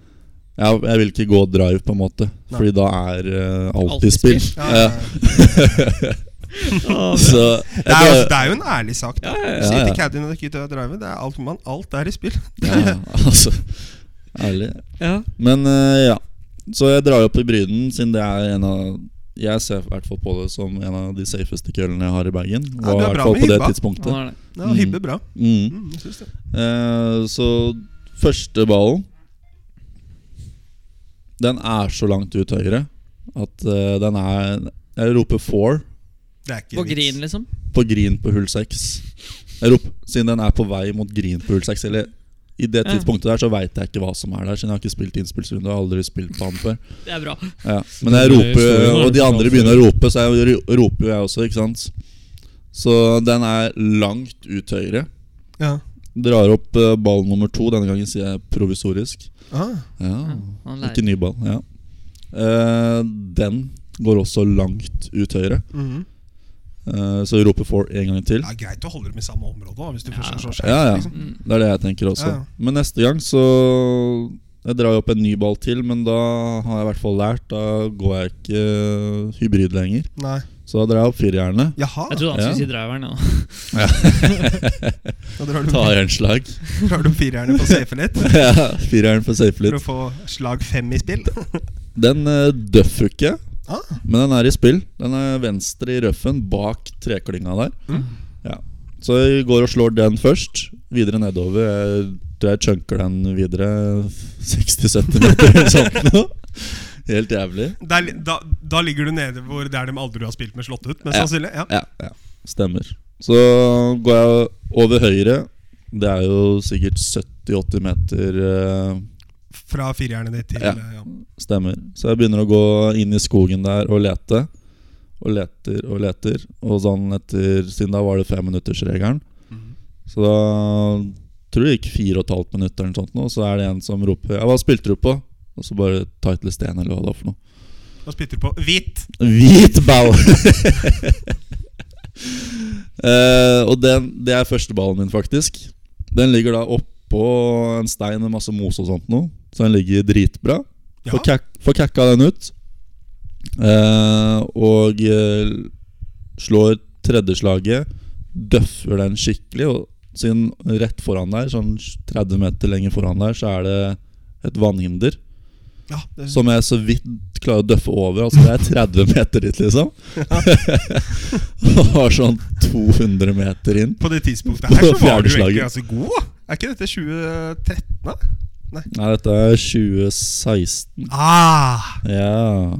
Speaker 2: Ja, jeg vil ikke gå drive, på en måte.
Speaker 1: Nei.
Speaker 2: Fordi da er eh, alt i
Speaker 3: Alt i
Speaker 2: spill.
Speaker 3: spill.
Speaker 1: ja,
Speaker 2: Ja. Så jeg
Speaker 1: det, er jo,
Speaker 2: drar-
Speaker 1: altså, det er jo en ærlig sak. da.
Speaker 2: ja,
Speaker 1: Sier
Speaker 2: ja.
Speaker 1: til Caddy når det ikke er drive, det er alt, man, alt er i spill.
Speaker 2: ja, altså, Ærlig.
Speaker 3: Ja.
Speaker 2: Men eh, ja. Så jeg drar opp i bryden, siden det er en av Jeg ser i hvert fall på det som en av de safeste køllene jeg har i bagen.
Speaker 1: Ja, du
Speaker 2: Og i
Speaker 1: er
Speaker 2: hvert
Speaker 1: bra
Speaker 2: fall
Speaker 1: med
Speaker 2: på det
Speaker 1: hybba.
Speaker 2: tidspunktet.
Speaker 3: Han er det.
Speaker 1: Ja,
Speaker 2: Mm.
Speaker 1: Hybbe bra.
Speaker 2: Mm.
Speaker 1: Mm, jeg synes det.
Speaker 2: Eh, så første ballen Den er så langt ut høyre at eh, den er Jeg roper four
Speaker 1: det er ikke
Speaker 3: På
Speaker 1: vits.
Speaker 3: green, liksom.
Speaker 2: på green på hull 6. Jeg roper, siden den er på vei mot green på hull 6. Eller i det
Speaker 3: Ja.
Speaker 2: tidspunktet der så veit jeg ikke hva som er der, siden jeg har ikke spilt innspillsrunde. og Aldri spilt på han før
Speaker 3: Det er bra.
Speaker 2: ja. Men jeg
Speaker 4: Det er
Speaker 2: roper,
Speaker 4: historien, da.
Speaker 2: og de andre begynner å rope, så jeg ro- roper jo jeg også, ikke sant. Så den er langt ut høyre.
Speaker 1: Ja.
Speaker 2: Drar opp eh, ball nummer to. Denne gangen sier jeg provisorisk.
Speaker 1: Ah,
Speaker 2: Ja,
Speaker 3: Han
Speaker 2: Ikke
Speaker 3: lærer.
Speaker 2: ny ball. Ja. Eh, den går også langt ut høyre.
Speaker 1: mhm.
Speaker 2: Eh, så vi roper four en gang til.
Speaker 1: Det er greit å holde dem i samme område da, hvis du først er så skjerpet.
Speaker 2: Ja, ja.
Speaker 3: Mm.
Speaker 2: Det er det jeg tenker også.
Speaker 1: Ja, ja.
Speaker 2: Men neste gang så Jeg drar jo opp en ny ball til, men da har jeg i hvert fall lært. Da går jeg ikke eh, hybrid lenger.
Speaker 1: Nei.
Speaker 2: Så da drar jeg opp firehjernet.
Speaker 1: Jaha.
Speaker 3: Jeg trodde han skulle
Speaker 2: Ja.
Speaker 3: si driveren. Ja.
Speaker 1: Da drar du,
Speaker 2: Tar en slag.
Speaker 1: drar du firehjerne på safe litt
Speaker 2: Ja, Firehjern for safe
Speaker 1: for å
Speaker 2: litt.
Speaker 1: få slag fem i spill.
Speaker 2: Den uh, døffer ikke,
Speaker 1: Ah.
Speaker 2: men den er i spill. Den er venstre i røffen bak treklinga der.
Speaker 1: Mm.
Speaker 2: Ja. Så jeg går og slår den først. Videre nedover. Jeg, jeg chunker den videre 60-70 meter eller sånt noe. Helt jævlig.
Speaker 1: Der, li- da, da ligger du nede hvor det er dem aldri du har spilt med slått ut, mest
Speaker 2: Ja.
Speaker 1: sannsynlig. Ja.
Speaker 2: Ja, ja. Stemmer. Så går jeg over høyre. Det er jo sikkert 70-80 meter eh,
Speaker 1: Fra firehjernet ditt til
Speaker 2: Ja.
Speaker 1: eh, ja.
Speaker 2: Stemmer. Så jeg begynner å gå inn i skogen der og lete. Og leter og leter. Og sånn etter Siden da var det femminuttersregelen.
Speaker 1: Mhm.
Speaker 2: Så da tror jeg det gikk fire og et halvt minutt, eller noe sånt nå, så er det en som roper ja, 'Hva spilte du på?' Og så bare title sten, eller hva det var for noe.
Speaker 1: Da spytter du på hvit.
Speaker 2: Hvit ball! Eh, og den, det er første ballen min, faktisk. Den ligger da oppå en stein med masse mos og sånt noe. Så den ligger dritbra.
Speaker 1: Ja.
Speaker 2: Få kak- Få kakka den ut. Eh, og eh, slår tredjeslaget, døffer den skikkelig. Og siden rett foran der, sånn 30 meter lenger foran der, så er det et vannhinder.
Speaker 1: Ja, det,
Speaker 2: Som jeg så vidt klarer å døffe over. Altså Det er 30 meter dit, liksom. Og har sånn 200 meter inn.
Speaker 1: på det tidspunktet her så
Speaker 2: På
Speaker 1: var du
Speaker 2: fjerdeslaget.
Speaker 1: egentlig ganske god. da. Er ikke dette 2013, da?
Speaker 2: Nei, dette er 2016.
Speaker 1: Ah,
Speaker 2: Ja.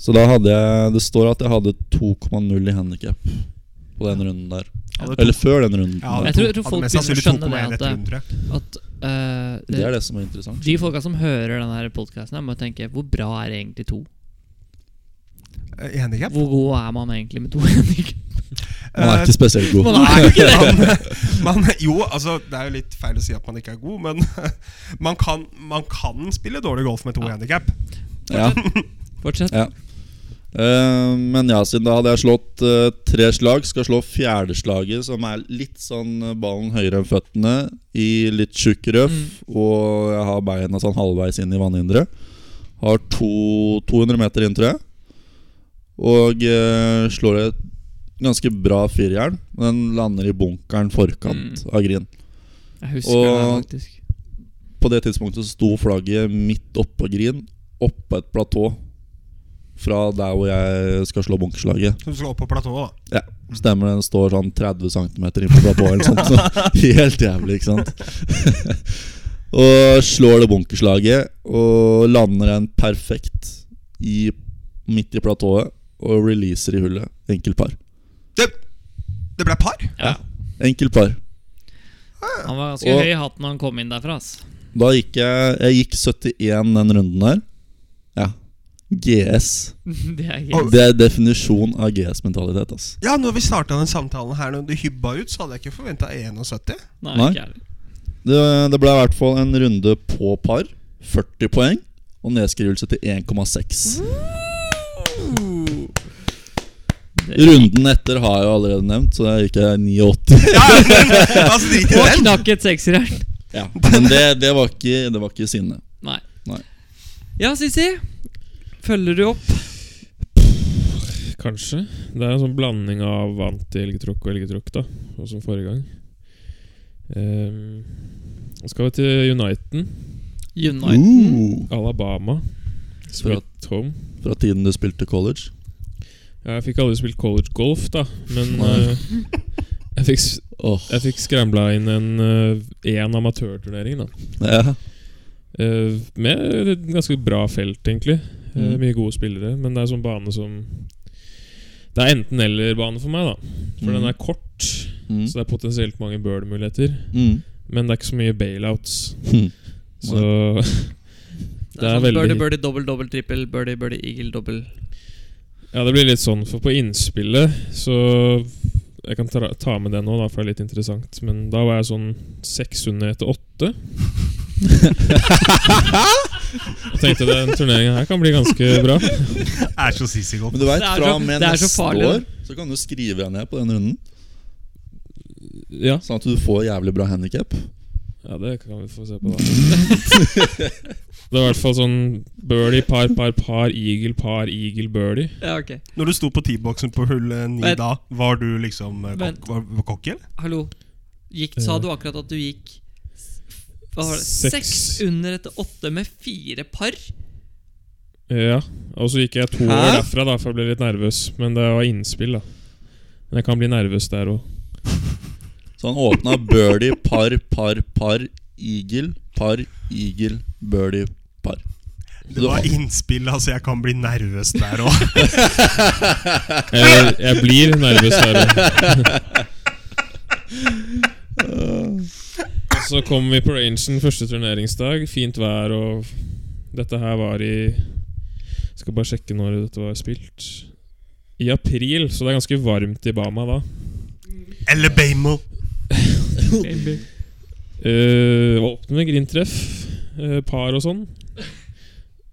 Speaker 2: Så da hadde jeg Det står at jeg hadde 2,0 i handikap på den runden der.
Speaker 1: hadde to-
Speaker 2: Eller før den runden.
Speaker 1: ja, hadde
Speaker 2: der.
Speaker 3: Jeg
Speaker 1: to-
Speaker 3: tror- jeg tror
Speaker 1: hadde
Speaker 3: folk
Speaker 1: mest
Speaker 3: begynner å
Speaker 1: sannsynlig
Speaker 3: skjønne
Speaker 1: 2,1
Speaker 3: det
Speaker 1: etter
Speaker 3: at-
Speaker 1: runde, tror jeg.
Speaker 3: At eh,
Speaker 2: Det
Speaker 3: det,
Speaker 2: er det som er interessant.
Speaker 3: De folka som hører denne podkasten, må tenke hvor bra er egentlig to?
Speaker 1: Eh, Handicap?
Speaker 3: Hvor god er man egentlig med to handikap?
Speaker 2: Man er ikke spesielt god.
Speaker 3: Eh, Man er jo ikke det!
Speaker 1: Man, jo, altså det er jo litt feil å si at man ikke er god, men man kan, man kan spille dårlig golf med to
Speaker 3: Ja.
Speaker 1: handicap.
Speaker 2: Ja.
Speaker 3: Fortsett.
Speaker 2: Ja. Eh, men ja, siden da hadde jeg slått eh, tre slag, skal slå fjerdeslaget, som er litt sånn eh, ballen høyere enn føttene, i litt tjukk røff, og jeg har beina sånn halvveis inn i vannhinderet. Har to, 200 meter inn, tror jeg. Og eh, slår et ganske bra firjern. Den lander i bunkeren forkant av green.
Speaker 3: Jeg husker det her,
Speaker 2: Og-
Speaker 3: faktisk.
Speaker 2: På det tidspunktet så sto flagget midt oppå green, oppå et platå. Fra der hvor jeg skal slå bunkerslaget.
Speaker 1: Som skal opp på platået, da.
Speaker 2: Ja, stemmer den står sånn 30 cm innpå platået eller sånt. Så helt jævlig, ikke sant? og slår det bunkerslaget og lander en perfekt i, midt i platået og releaser i hullet. Enkelt par.
Speaker 1: Det, det ble par.
Speaker 3: Ja.
Speaker 2: Enkelt par.
Speaker 3: Han var ganske
Speaker 2: Og-
Speaker 3: høy i hatten når han kom inn derfra. ass
Speaker 2: Da gikk jeg Jeg gikk 71 den runden der. Ja. GS.
Speaker 3: Det er
Speaker 1: Og-
Speaker 3: helt
Speaker 2: Det er definisjon av GS-mentalitet, ass.
Speaker 1: Ja, når vi starta den samtalen her, når du hybba ut, så hadde jeg ikke forventa 71.
Speaker 3: Nei,
Speaker 2: Nei.
Speaker 3: ikke jeg heller.
Speaker 2: Det, det ble i hvert fall en runde på par. 40 poeng og nedskrivelse til 1,6. Runden etter har jeg jo allerede nevnt, så der gikk jeg 89.
Speaker 1: Ja, men, altså, drit i
Speaker 3: Og
Speaker 1: den.
Speaker 3: knakk et sekserjern.
Speaker 2: Ja. Men det, det, var ikke, det var ikke sinne.
Speaker 3: Nei.
Speaker 2: Nei.
Speaker 3: Ja, Sissi. Følger du opp?
Speaker 4: Kanskje. Det er en sånn blanding av anti-elgetråkk og elgetråkk, da. Og som forrige gang. Ehm, så skal vi til Uniten.
Speaker 3: Uniten.
Speaker 2: Uh,
Speaker 4: Alabama.
Speaker 2: fra,
Speaker 4: Sweet home.
Speaker 2: fra tiden du spilte college.
Speaker 4: Ja, jeg fikk aldri spilt college golf, da. Men
Speaker 2: Nei.
Speaker 4: eh, jeg fikk, s-
Speaker 2: Åh,
Speaker 4: jeg fikk skrambla inn en én amatørturnering, da.
Speaker 2: ja.
Speaker 4: Eh, med et ganske bra felt, egentlig. Eh,
Speaker 2: Mm.
Speaker 4: Mye gode spillere. Men det er sånn bane som Det er enten-eller-bane for meg, da. For
Speaker 2: Mm.
Speaker 4: den er kort,
Speaker 2: Mm.
Speaker 4: så det er potensielt mange burn-muligheter.
Speaker 2: Mm.
Speaker 4: Men det er ikke så mye bailouts.
Speaker 2: Hm.
Speaker 4: Så Det er sånn veldig-
Speaker 3: sånn Birdie, birdie, dobbel, dobbel, trippel. Birdie, birdie, eagle, dobbel.
Speaker 4: Ja, det blir litt sånn, for på innspillet så Jeg kan ta, ta med det nå, da, for det er litt interessant. Men da var jeg sånn seks under etter åtte. Jeg tenkte den turneringen her kan bli ganske bra.
Speaker 1: Er så sissy godt.
Speaker 2: Men du veit,
Speaker 3: Det er
Speaker 2: fra
Speaker 3: så-
Speaker 2: og med
Speaker 3: det er så
Speaker 2: neste
Speaker 3: farlig,
Speaker 2: år så kan du skrive deg ned på den runden,
Speaker 4: Ja,
Speaker 2: sånn at du får jævlig bra handikap.
Speaker 4: ja det kan vi få se på, da. Det var i hvert fall sånn birdie, par, par, par, eagle, par, eagle, birdie.
Speaker 3: Ja, ok.
Speaker 1: Når du sto på T-boksen på hull eh, ni
Speaker 3: Vent.
Speaker 1: da, var du liksom eh,
Speaker 3: Vent.
Speaker 1: kokk, var, var kokk, eller?
Speaker 3: Hallo. Gikk, sa du akkurat at du gikk s- hva var
Speaker 4: Eh.
Speaker 3: det?
Speaker 4: Seks.
Speaker 3: Seks under etter åtte med fire par?
Speaker 4: Ja, og så gikk jeg to år
Speaker 2: Hæ?
Speaker 4: derfra, da, for jeg ble litt nervøs. Men det var innspill, da. Men jeg kan bli nervøs der òg.
Speaker 2: Så han åpna birdie, par, par, par, eagle, par, eagle, birdie, par.
Speaker 1: Det var innspill, altså. Jeg kan bli nervøs der òg.
Speaker 4: Jeg, jeg blir nervøs der òg. Så kom vi på rangen første turneringsdag. Fint vær og Dette her var i Skal bare sjekke når dette var spilt. I april, så det er ganske varmt i Bama da.
Speaker 1: Eller Bamo.
Speaker 4: Eh, åpne med grintreff, eh, par og sånn.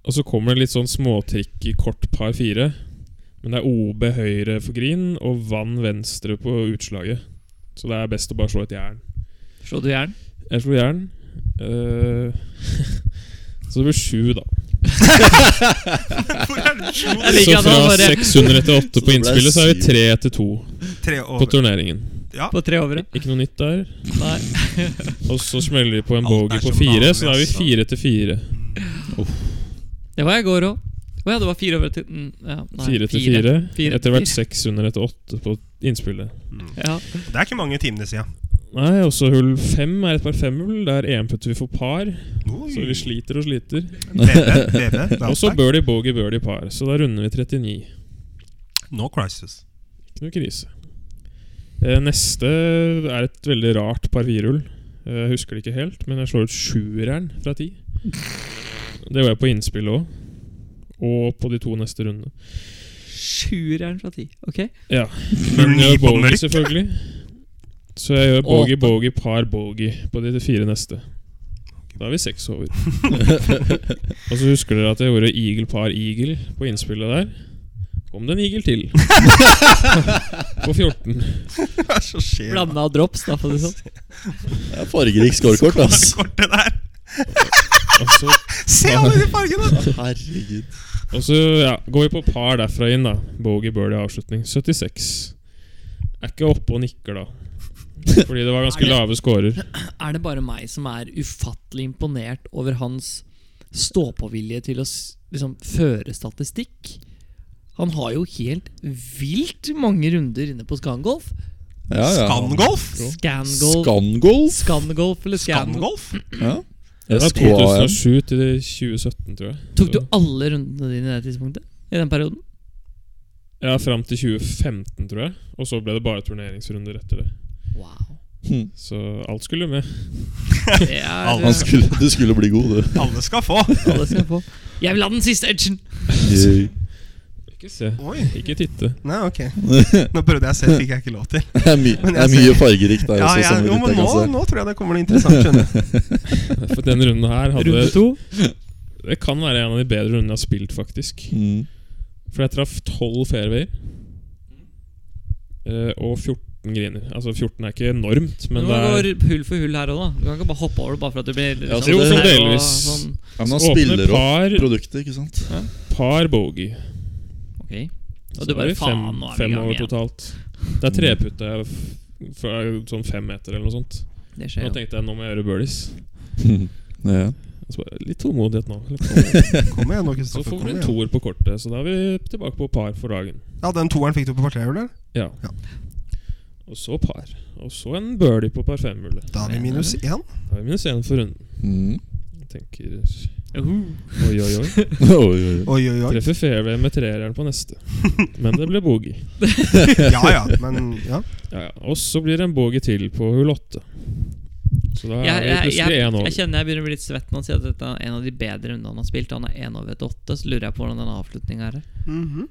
Speaker 4: Og så kommer det litt sånn småtrikk i kort par fire. Men det er OB høyre for green og vann venstre på utslaget. Så det er best å bare slå et jern.
Speaker 3: Slo du jern?
Speaker 4: Jeg slo jern. eh, så det blir sju, da.
Speaker 1: Hvor er det sju?
Speaker 3: Jeg liker
Speaker 4: Så
Speaker 3: at han
Speaker 4: fra
Speaker 3: bare
Speaker 4: 600 til 8
Speaker 2: Så
Speaker 4: på
Speaker 2: ble det
Speaker 4: innspillet, så er vi
Speaker 2: syv.
Speaker 4: tre til to
Speaker 1: Tre
Speaker 4: på
Speaker 1: over.
Speaker 4: turneringen.
Speaker 1: Ja.
Speaker 3: på tre over.
Speaker 4: Ikke noe nytt der.
Speaker 3: Nei.
Speaker 4: Og så smeller de på en
Speaker 1: Alt er
Speaker 4: bogey på
Speaker 1: som
Speaker 4: fire,
Speaker 1: vanlig,
Speaker 4: så da er vi
Speaker 1: altså.
Speaker 4: fire til fire.
Speaker 3: Det var jeg i går òg. Å ja, det var fire over til mm, ja, nei,
Speaker 4: Fire til fire.
Speaker 3: Fire til
Speaker 4: Etter hvert
Speaker 3: fire.
Speaker 4: 600 til åtte på innspillet.
Speaker 3: Ja.
Speaker 1: Mm. Det er ikke mange timene siden.
Speaker 4: Nei, også hull fem er et par femhull. Der EM-putter vi for par,
Speaker 1: Oi.
Speaker 4: så vi sliter og sliter.
Speaker 1: BB, BB,
Speaker 4: Og så
Speaker 1: Dalsberg.
Speaker 4: birdie, bogey, birdie, par. Så da runder vi 39.
Speaker 1: No crisis.
Speaker 4: Ikke noe krise. Eh, Neste er et veldig rart par firehull. Eh, Jeg husker det ikke helt, men jeg slår ut sjueren fra ti. Det var jeg på innspillet òg. Og på de to neste rundene.
Speaker 3: Sjueren fra ti. Ok.
Speaker 4: Ja.
Speaker 1: Null
Speaker 4: Men jeg
Speaker 1: ni
Speaker 4: gjør
Speaker 1: på
Speaker 4: bogey,
Speaker 1: mørk.
Speaker 4: selvfølgelig. Så jeg gjør bogey, bogey, par, bogey på de fire neste. Da er vi seks over. Og så husker dere at jeg gjorde eagle, par, eagle på innspillet der. Kom det en eagle til. på 14.
Speaker 1: Hva er det som skjer? da?
Speaker 3: Blanda drops, da, for å si det sånn.
Speaker 2: Det er fargerikt scorekort, ass.
Speaker 1: Kortet der.
Speaker 4: Og så
Speaker 1: Se alle de fargene!
Speaker 2: Herregud.
Speaker 4: Og så ja, går vi på par derfra inn, da. Bogey birdie avslutning. 76. Er ikke oppe og nikker, da. Fordi det var ganske
Speaker 3: Er det-
Speaker 4: lave scorer.
Speaker 3: Er det bare meg som er ufattelig imponert over hans ståpåvilje til å s- liksom, føre statistikk? Han har jo helt vilt mange runder inne på Scangolf.
Speaker 2: Ja, ja.
Speaker 1: Scangolf?
Speaker 3: Scangolf
Speaker 2: Scangolf?
Speaker 3: Scangolf eller Scangolf.
Speaker 1: Scangolf?
Speaker 2: Ja.
Speaker 4: Det var
Speaker 2: SKAM.
Speaker 4: 2007 til 2017, tror jeg.
Speaker 3: Tok du
Speaker 4: Så-
Speaker 3: alle rundene dine i det tidspunktet? I den perioden?
Speaker 4: Ja, Fram til 2015, tror jeg. Og så ble det bare turneringsrunder etter det.
Speaker 3: Wow.
Speaker 2: Hm.
Speaker 4: Så alt skulle med.
Speaker 3: Det er eh,
Speaker 1: Han
Speaker 2: Han skulle, du skulle bli god, du.
Speaker 1: Alle skal få.
Speaker 3: Alle skal få. Jeg vil ha den siste edgen!
Speaker 4: Ikke se.
Speaker 1: Oi.
Speaker 4: Ikke titte.
Speaker 1: Nei, ok. Nå prøvde jeg å se, fikk jeg ikke lov til.
Speaker 2: Det er, my,
Speaker 1: Men
Speaker 2: det er
Speaker 1: jeg
Speaker 2: mye fargerikt der
Speaker 1: Ja,
Speaker 2: også.
Speaker 1: ja,
Speaker 2: som vi
Speaker 1: jo,
Speaker 2: litt
Speaker 1: men
Speaker 2: kan
Speaker 1: nå,
Speaker 2: se.
Speaker 1: nå tror jeg det kommer noe interessant. skjønner du.
Speaker 4: For den runden her
Speaker 3: Runde
Speaker 4: hadde
Speaker 3: to.
Speaker 4: Det kan være en av de bedre rundene jeg har spilt, faktisk.
Speaker 2: Mm.
Speaker 4: For jeg traff 12 fairwayer eh, og 14 griner. Altså 14 er ikke enormt, men
Speaker 3: Men
Speaker 4: det er
Speaker 3: går hull for hull her òg, da. Du kan ikke bare hoppe over det bare for at du blir liksom,
Speaker 2: Ja, så det-
Speaker 3: nær og
Speaker 4: delvis.
Speaker 3: Sånn.
Speaker 2: Ja, men han
Speaker 4: åpne
Speaker 2: spiller opp
Speaker 4: par,
Speaker 2: produktet, ikke sant?
Speaker 4: par bogey.
Speaker 3: Ok.
Speaker 4: Så
Speaker 3: Og du
Speaker 4: er
Speaker 3: bare
Speaker 4: vi
Speaker 3: faen,
Speaker 4: fem,
Speaker 3: nå er vi i
Speaker 4: fem
Speaker 3: gang
Speaker 4: over
Speaker 3: igjen.
Speaker 4: totalt. Det er treputte jeg f- fra sånn fem meter eller noe sånt.
Speaker 3: Det
Speaker 4: Da
Speaker 3: skjer jo.
Speaker 4: tenkte jeg nå må jeg gjøre birdies.
Speaker 2: Mm. ja.
Speaker 4: Og så bare, Litt tålmodighet nå. Litt tålmodighet.
Speaker 1: Kom igjen nå,
Speaker 4: Så
Speaker 1: Kristoffer.
Speaker 4: får
Speaker 1: kom
Speaker 4: vi en
Speaker 1: igjen.
Speaker 4: toer på kortet, så da er vi tilbake på par for dagen.
Speaker 1: Ja, Den toeren fikk du på partrehjulet?
Speaker 4: Ja.
Speaker 1: Ja.
Speaker 4: Og så par. Og så en birdie på par fem-hullet.
Speaker 1: Da er vi minus én.
Speaker 4: Da er vi minus én for runden.
Speaker 2: Mm.
Speaker 4: Jeg tenker
Speaker 3: Uhu.
Speaker 4: oi, oi, oi.
Speaker 2: Oi, oi, oi.
Speaker 1: Oi, oi, oi.
Speaker 4: Treffer fairway med treeren på neste. Men det ble bogey.
Speaker 1: Ja ja, men ja.
Speaker 4: Ja, ja. Og så blir det en bogey til på hull åtte. Så da er
Speaker 3: Jeg,
Speaker 4: vi
Speaker 3: jeg,
Speaker 4: plutselig én
Speaker 3: jeg, jeg
Speaker 4: over.
Speaker 3: kjenner jeg begynner å bli litt svett nå og si at dette er en av de bedre rundene han har spilt. Han er én over et åtte, så lurer jeg på hvordan den avslutninga er.
Speaker 1: Mhm.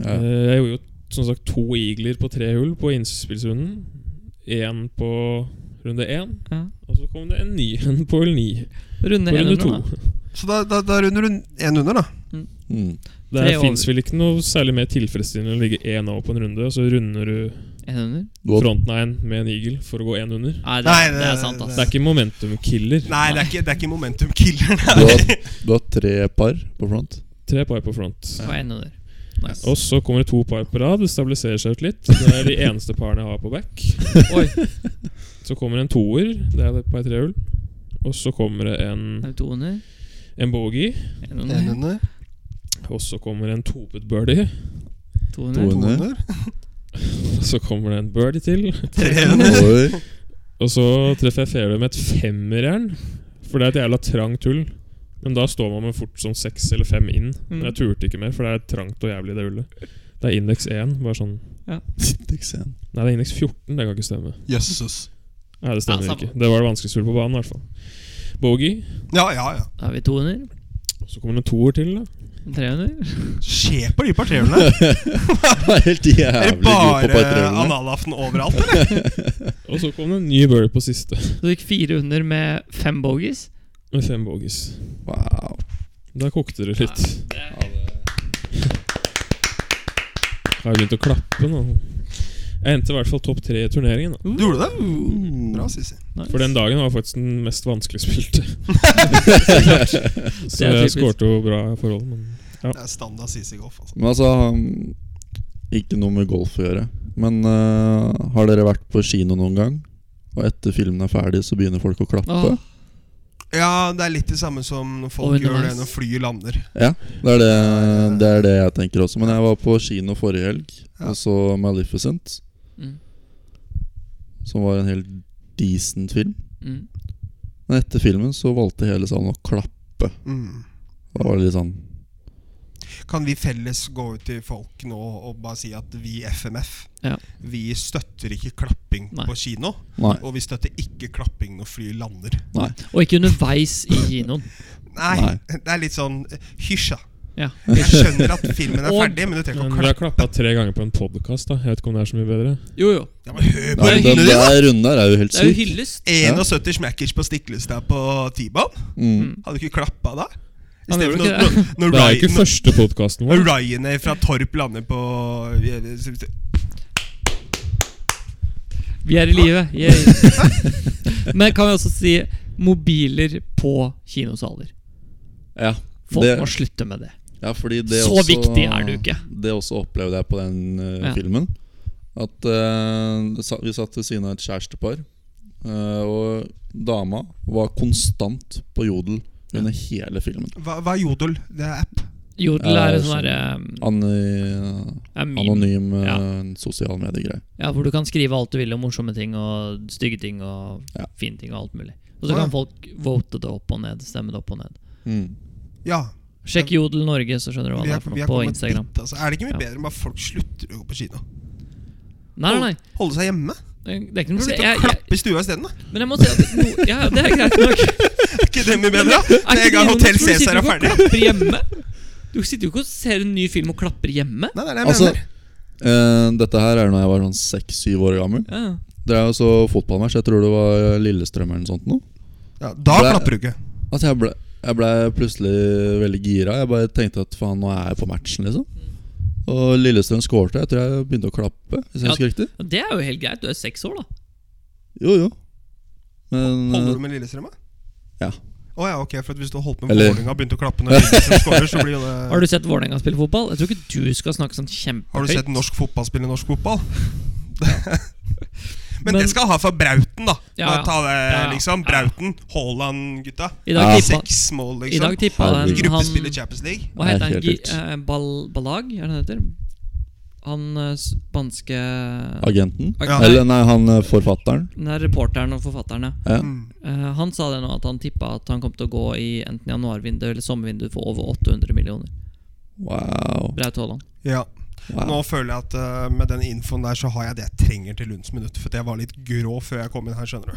Speaker 2: Ja.
Speaker 4: Eh, Jeg gjorde jo som sagt to eagler på tre hull på innspillsrunden. Én på runde én,
Speaker 3: Ja.
Speaker 4: og så kom det en ny en på hull ni.
Speaker 3: Runde
Speaker 4: På runde
Speaker 3: én under,
Speaker 4: to.
Speaker 3: da.
Speaker 1: Så da, da, da runder du én under, da.
Speaker 2: Mm.
Speaker 3: Tre
Speaker 4: Der
Speaker 3: over.
Speaker 4: fins vel ikke noe særlig mer tilfredsstillende å ligge én over på en runde, og så runder du
Speaker 3: En under?
Speaker 2: Godt.
Speaker 4: fronten av en med en eagle for å gå én under.
Speaker 3: Nei, det,
Speaker 1: Nei,
Speaker 3: det,
Speaker 1: det-
Speaker 3: er sant, ass.
Speaker 4: Det er ikke momentum killer.
Speaker 1: Nei, det er ikke, det er ikke momentum killer.
Speaker 2: Du har, du har tre par på front.
Speaker 4: Tre par på front.
Speaker 3: Det var en under. Nice.
Speaker 4: Og så kommer det to par på rad. Det stabiliserer seg ut litt. Det er de eneste parene jeg har på back.
Speaker 3: Oi,
Speaker 4: Så kommer det en toer. Det er et par trehull. Og så kommer det
Speaker 3: det
Speaker 4: en,
Speaker 3: er to under.
Speaker 4: en bogey.
Speaker 3: En under.
Speaker 1: Én under,
Speaker 4: Og så kommer det en topet birdie.
Speaker 3: To
Speaker 2: To
Speaker 1: to
Speaker 3: under.
Speaker 2: under.
Speaker 1: under,
Speaker 4: Og så kommer det en birdie til.
Speaker 1: tre under.
Speaker 2: Oi.
Speaker 4: Og så treffer jeg fairway med et femmerjern. For det er et jævla trangt hull. Men da står man med fort sånn seks eller fem inn. Men jeg turte ikke mer, for det er trangt og jævlig i det hullet. Det er indeks 1. Bare sånn
Speaker 2: Index en.
Speaker 4: Nei, det er indeks 14. Det kan ikke stemme.
Speaker 1: Jøsses.
Speaker 4: Nei, det stemmer
Speaker 3: Ja, samme.
Speaker 4: ikke. Det var det vanskeligste hullet på banen, i hvert fall. Bogey.
Speaker 1: Ja ja ja.
Speaker 3: Da har vi to under.
Speaker 4: Så kommer det en toer til, da.
Speaker 3: Tre under.
Speaker 1: Se på de partrehjulene.
Speaker 2: Han er helt
Speaker 1: Er det
Speaker 2: jævlig god på
Speaker 1: bare
Speaker 2: par
Speaker 1: analaften overalt, eller?
Speaker 4: Og så kom det en ny birdie på siste,
Speaker 3: Så du gikk fire under med fem bogies.
Speaker 4: med fem bogies.
Speaker 2: Wow.
Speaker 4: Da kokte det litt. Jeg har begynt å klappe nå. Jeg endte i hvert fall topp tre i turneringen. Da.
Speaker 1: Du gjorde det? Bra, Sissi.
Speaker 4: For den dagen var faktisk den mest vanskelig spilte. Så
Speaker 3: Det er
Speaker 4: jeg
Speaker 3: typisk.
Speaker 4: skårte jo bra forhold, men
Speaker 1: Det er standard Sissi Golf. Altså.
Speaker 2: Men altså um, Ikke noe med golf å gjøre. Men eh, har dere vært på kino noen gang? Og etter filmen er ferdig, så begynner folk å klappe?
Speaker 3: Ah.
Speaker 1: Ja, det er litt det samme som når folk
Speaker 3: Og
Speaker 1: gjør det
Speaker 3: underveis.
Speaker 1: når flyet lander.
Speaker 2: Ja, det er det, det er det jeg tenker også. Men jeg var på kino forrige helg
Speaker 1: Ja.
Speaker 2: og så Maleficent,
Speaker 3: Mm.
Speaker 2: som var en helt decent film.
Speaker 3: Mm.
Speaker 2: Men etter filmen så valgte hele salen å klappe.
Speaker 1: Mm.
Speaker 2: Da var det litt sånn
Speaker 1: Kan vi felles gå ut til folk nå og bare si at vi i FMF
Speaker 3: Ja.
Speaker 1: Vi støtter ikke klapping
Speaker 3: Nei.
Speaker 1: på kino.
Speaker 2: Nei.
Speaker 1: Og vi støtter ikke klapping når fly lander.
Speaker 2: Nei.
Speaker 3: Og ikke underveis i kinoen.
Speaker 1: Nei,
Speaker 2: Nei.
Speaker 1: det er litt sånn eh, Hysj, da.
Speaker 3: Ja.
Speaker 1: Jeg skjønner at filmen er
Speaker 3: Og-
Speaker 1: ferdig, men du trenger
Speaker 4: Men
Speaker 1: ikke å
Speaker 4: vi har
Speaker 1: klappe.
Speaker 4: klappa tre ganger på en podkast. Jeg vet ikke om det er så mye bedre.
Speaker 3: Jo, jo.
Speaker 1: Ja, men hør på
Speaker 2: Nei,
Speaker 1: den
Speaker 2: den
Speaker 1: lyden, da!
Speaker 2: der runden der er jo helt
Speaker 3: Det er jo
Speaker 2: syk.
Speaker 3: hyllest.
Speaker 1: 71 smackers på Stiklestad på T-banen.
Speaker 2: Mm.
Speaker 1: Hadde du ikke klappa da? I
Speaker 3: Han
Speaker 1: stedet for
Speaker 3: gjorde ikke
Speaker 1: når, når,
Speaker 4: Det er jo ikke
Speaker 1: Ryan-
Speaker 4: første podkasten
Speaker 1: når
Speaker 4: vår.
Speaker 1: Ryanair fra Torp lander på
Speaker 3: Vi er i live. Yay. Men kan vi også si mobiler på kinosaler.
Speaker 2: Ja.
Speaker 3: Folk
Speaker 2: Det-
Speaker 3: må slutte med det.
Speaker 2: Ja, fordi det
Speaker 3: Så
Speaker 2: også,
Speaker 3: viktig er du ikke.
Speaker 2: Det også opplevde jeg på den eh,
Speaker 3: Ja.
Speaker 2: filmen. At eh, det sa- vi satt ved siden av et kjærestepar, eh, og dama var konstant på jodel under hele filmen.
Speaker 1: Hva, hva er Jodel? Det er app.
Speaker 3: Jodel
Speaker 2: Ja,
Speaker 3: er en
Speaker 2: sånn.
Speaker 3: sånn derre
Speaker 2: Any, anonym eh, sosial mediegreie.
Speaker 3: Ja, hvor du kan skrive alt du vil om morsomme ting og stygge ting og
Speaker 2: Ja.
Speaker 3: fine ting og alt mulig. Og så
Speaker 1: Å, ja.
Speaker 3: kan folk vote det opp og ned, stemme det opp og ned.
Speaker 2: Mm.
Speaker 1: Ja.
Speaker 3: Sjekk Jodel Norge, så skjønner du hva
Speaker 1: Vi har,
Speaker 3: det er for
Speaker 1: vi
Speaker 3: noe
Speaker 1: har
Speaker 3: på
Speaker 1: kommet
Speaker 3: Instagram.
Speaker 1: dit. Altså. Er det ikke mye
Speaker 3: Ja.
Speaker 1: bedre enn at folk slutter å gå på kino?
Speaker 3: Nei, nei, nei.
Speaker 1: Holde seg hjemme?
Speaker 3: Det er ikke noe problem.
Speaker 1: Sitte og
Speaker 3: Jeg, jeg,
Speaker 1: klappe i stua isteden? da.
Speaker 3: men jeg må si at no, ja, det er greit nok.
Speaker 1: Er ikke det mye bedre? da?
Speaker 3: Er
Speaker 1: Med en
Speaker 3: ikke
Speaker 1: gang
Speaker 3: det
Speaker 1: Hotell
Speaker 3: noe- for du
Speaker 1: Cæsar
Speaker 3: sitter
Speaker 1: er
Speaker 3: jo ikke
Speaker 1: ferdig.
Speaker 3: og klapper hjemme. Du sitter jo ikke og ser en ny film og klapper hjemme.
Speaker 1: Nei, det er det jeg
Speaker 2: Altså,
Speaker 1: mener.
Speaker 2: eh, dette her er da jeg var sånn seks-syv år gammel.
Speaker 3: Ja.
Speaker 2: Det er jo så fotballmatch. Jeg tror det var eh, Lillestrøm eller noe sånt. Nå.
Speaker 1: Ja, da
Speaker 2: det er-
Speaker 1: klapper du ikke.
Speaker 3: Mm.
Speaker 2: Altså, jeg ble, jeg ble plutselig veldig gira. Jeg bare tenkte at faen, nå er jeg på matchen, liksom. Og Lillestrøm skårte. Jeg tror jeg begynte å klappe, hvis jeg
Speaker 3: Ja.
Speaker 2: husker riktig.
Speaker 3: Ja, Det er jo helt greit. Du er seks år, da.
Speaker 2: Jo, jo. Men
Speaker 1: Holder
Speaker 2: eh,
Speaker 1: du med Lillestrøm? da?
Speaker 2: Ja.
Speaker 1: Å ja, ok, for at Hvis du har holdt med
Speaker 2: Eller-
Speaker 1: Vålerenga og begynt å klappe når Lillestrøm scorer, så blir jo det
Speaker 3: Har du sett Vålerenga spille fotball? Jeg tror ikke du skal snakke sånn kjempehøyt.
Speaker 1: Har du sett norsk fotball spille norsk fotball? Men,
Speaker 3: Men-
Speaker 1: det skal han ha for Brauten, da.
Speaker 3: Ja,
Speaker 1: Må
Speaker 3: ja.
Speaker 1: ta det,
Speaker 3: Ja, ja.
Speaker 1: liksom. Brauten, Haaland, gutta.
Speaker 3: I dag
Speaker 2: Ja.
Speaker 3: tippa,
Speaker 1: Seks mål,
Speaker 3: i dag
Speaker 1: liksom.
Speaker 3: tippa
Speaker 2: Herregud.
Speaker 3: den han
Speaker 1: Gruppespiller Champions League.
Speaker 3: Hva
Speaker 2: Nei,
Speaker 3: heter han?
Speaker 2: helt
Speaker 3: Gi,
Speaker 2: vilt.
Speaker 3: eh, bal, balag, er det han heter? Han eh, spanske
Speaker 2: eh, agenten?
Speaker 1: Ja.
Speaker 2: Eller nei, han eh, forfatteren.
Speaker 3: Den der reporteren og forfatteren, ja.
Speaker 2: Ja.
Speaker 1: Mm.
Speaker 3: Eh, han sa det nå at han tippa at han kom til å gå i enten januarvindu eller sommervindu for over 800 millioner.
Speaker 2: Wow.
Speaker 3: Braut Haaland.
Speaker 1: Ja.
Speaker 2: wow.
Speaker 1: Nå føler jeg at eh, med den infoen der, så har jeg det jeg trenger til Lunds minutt. For jeg var litt grå før jeg kom inn her, skjønner du.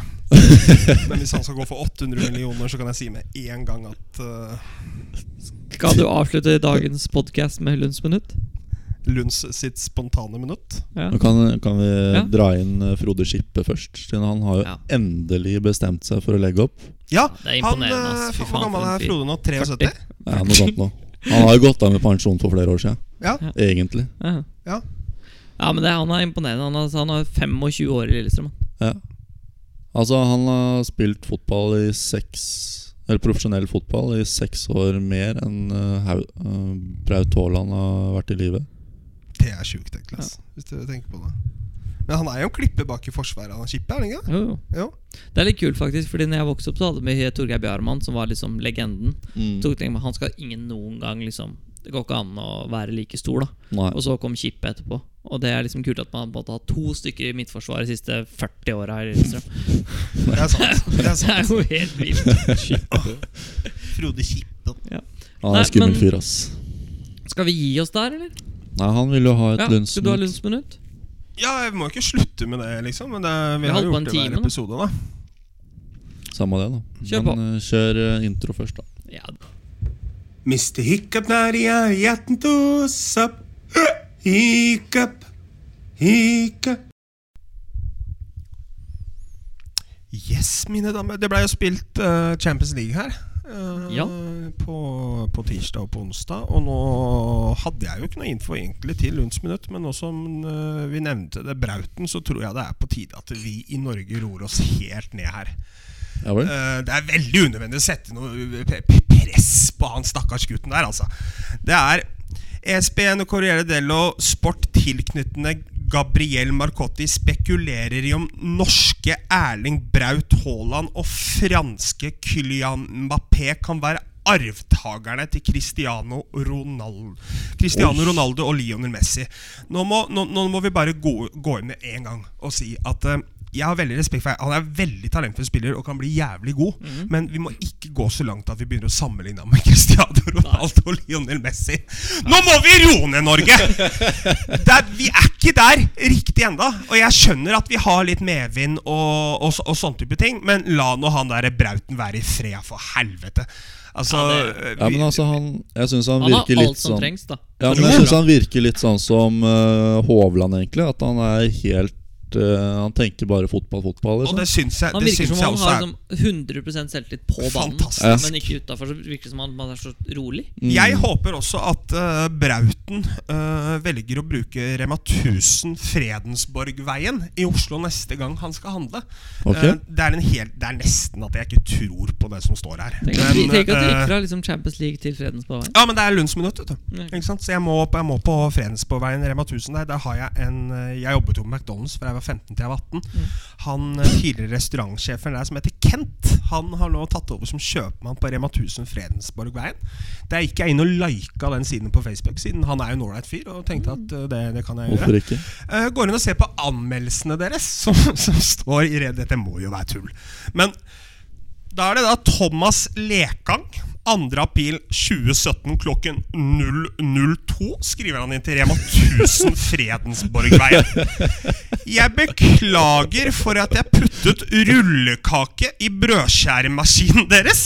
Speaker 1: Men hvis han skal gå for 800 millioner, så kan jeg si med en gang at eh,
Speaker 3: Skal du avslutte dagens podkast med Lunds minutt?
Speaker 1: Lunds sitt spontane minutt
Speaker 3: Ja.
Speaker 2: Nå kan, kan vi
Speaker 3: Ja.
Speaker 2: dra inn eh, Frode Skippe først. Siden han har jo
Speaker 3: Ja.
Speaker 2: endelig bestemt seg for å legge opp.
Speaker 1: Ja!
Speaker 3: Det er
Speaker 1: Han,
Speaker 3: imponerende.
Speaker 1: eh,
Speaker 3: ass. Fy
Speaker 1: faen,
Speaker 3: faen,
Speaker 1: hvor gammel
Speaker 3: for en
Speaker 1: er
Speaker 3: fyr.
Speaker 1: Frode nå? 73?
Speaker 3: 40.
Speaker 2: Ja, noe sånt nå. Han har jo gått av med pensjon for flere år siden,
Speaker 1: Ja.
Speaker 2: egentlig.
Speaker 3: Ja.
Speaker 1: Ja.
Speaker 3: Ja, men det, han er imponerende. Han er, altså, han er 25 år i Lillestrøm. han.
Speaker 2: Ja. Altså, han har spilt fotball i seks Eller profesjonell fotball i seks år mer enn eh, Hau- eh, Braut Haaland har vært i live.
Speaker 1: Det er sjukt, egentlig. ass, Hvis du tenker på det. Men han er jo en klippe bak i forsvaret, han Kippe? er han ikke det?
Speaker 3: Jo, jo.
Speaker 1: Jo.
Speaker 3: Det er litt kult, faktisk. Fordi når jeg vokste opp, så hadde vi Torgeir Bjarmann, som var liksom legenden.
Speaker 2: Mm.
Speaker 1: Mm.
Speaker 3: Så tenkte jeg, men Han skal ingen noen gang liksom Det går ikke an å være like stor, da.
Speaker 2: Nei.
Speaker 3: Og så kom Kippe etterpå. Og det er liksom kult at man på en måte har to stykker i midtforsvaret de siste 40 åra her i Lillestrøm.
Speaker 1: Det er sant. Det er
Speaker 3: Det
Speaker 1: sant.
Speaker 3: er jo helt vilt.
Speaker 1: Frode Kippe.
Speaker 2: Han er
Speaker 3: Nei,
Speaker 2: en skummel
Speaker 3: men-
Speaker 2: fyr, ass.
Speaker 3: Skal vi gi oss der, eller?
Speaker 2: Nei, han vil jo ha et
Speaker 3: Ja,
Speaker 2: lunsj.
Speaker 3: skal du ha lunsjminutt?
Speaker 1: Ja, vi må jo ikke slutte med det, liksom. Men det, vi,
Speaker 3: Vi
Speaker 1: har
Speaker 3: holdt
Speaker 1: jo
Speaker 3: på
Speaker 1: gjort
Speaker 3: en
Speaker 1: det
Speaker 3: time,
Speaker 1: hver
Speaker 3: da.
Speaker 1: episode, da.
Speaker 2: Samme det, da.
Speaker 3: Kjør på.
Speaker 2: Men eh, kjør eh, intro først, da.
Speaker 3: Ja.
Speaker 5: Mr. Hiccup Nadia, hjerten tos opp. Hiccup, hiccup.
Speaker 1: Yes, mine damer. Det ble jo spilt eh, Champions League her. eh,
Speaker 3: Ja.
Speaker 1: på, på tirsdag og på onsdag. Og nå hadde jeg jo ikke noe info egentlig til Lunds minutt, men nå som eh, vi nevnte det Brauten, så tror jeg det er på tide at vi i Norge roer oss helt ned her.
Speaker 2: Ja vel?
Speaker 1: Eh, det er veldig unødvendig å sette noe p- p- press på han stakkars gutten der, altså. Det er E ESPN og Corriere Dello Sport tilknyttende Gabriel Marcotti spekulerer i om norske Erling Braut Haaland og franske Kylian Mbappé kan være arvtakerne til Cristiano Ronaldo, Cristiano Ronaldo og Lionel Messi. Nå må, nå, nå må vi bare gå, gå inn med en gang og si at eh, jeg har veldig respekt for Han er veldig talentfull spiller og kan bli jævlig god,
Speaker 3: Mhm.
Speaker 1: men vi må ikke gå så langt at vi begynner å sammenligne ham med Cristiano Ronaldo og Lionel Messi. Nå må vi roe ned Norge! Det er, vi er ikke der riktig enda Og jeg skjønner at vi har litt medvind og, og, så- og sånn type ting, men la nå han der Brauten være i fred, for helvete. Altså
Speaker 2: Ja, men altså, han Jeg syns han,
Speaker 3: Han har
Speaker 2: virker
Speaker 3: alt
Speaker 2: litt
Speaker 3: som
Speaker 2: sånn
Speaker 3: trengs, da.
Speaker 2: Ja, men jeg synes han virker litt sånn som eh, Hovland, egentlig. At han er helt eh, Han tenker bare fotball,
Speaker 1: Og
Speaker 2: fotball. Liksom.
Speaker 1: det syns jeg,
Speaker 3: Han
Speaker 1: det syns
Speaker 3: virker som
Speaker 1: jeg
Speaker 3: han
Speaker 1: også
Speaker 3: har
Speaker 1: er
Speaker 3: liksom 100 selvtillit på banen,
Speaker 1: Fantastisk.
Speaker 3: men ikke utafor. Så virker det som han, han er så rolig.
Speaker 1: Jeg håper også at eh, Brauten eh, velger å bruke Rema 1000 Fredensborgveien i Oslo neste gang han skal handle.
Speaker 2: Ok.
Speaker 1: Eh, det, er en hel, det er nesten at jeg ikke tror på det som står her.
Speaker 3: Tenk at,
Speaker 1: Men,
Speaker 3: tenk at det gikk
Speaker 1: eh,
Speaker 3: fra liksom Champions League til Fredens på vei.
Speaker 1: ja, men det er Lundsminutt, vet du.
Speaker 3: Ja.
Speaker 1: Ikke sant? Så jeg må, opp- jeg må på Fredensborgveien, Rema 1000 der. Der har jeg en eh, Jeg jobbet jo på McDonald's fra jeg var 15 til jeg var 18. Han eh, tidligere restaurantsjefen der som heter Kent, han har nå tatt over som kjøpmann på Rema 1000 Fredensborgveien. Der gikk jeg inn og lika den siden på Facebook, siden han er jo en ålreit fyr, og tenkte at eh, det, det kan jeg gjøre.
Speaker 2: Hvorfor ikke?
Speaker 1: Eh, går inn og ser på anmeldelsene deres, som, som står i red. Dette må jo være tull. Men da er det da Thomas Lekang. 2. april 2017 klokken 002 skriver han inn til Rema 1000 Fredensborgveien. Jeg beklager for at jeg puttet rullekake i brødskjæremaskinen deres.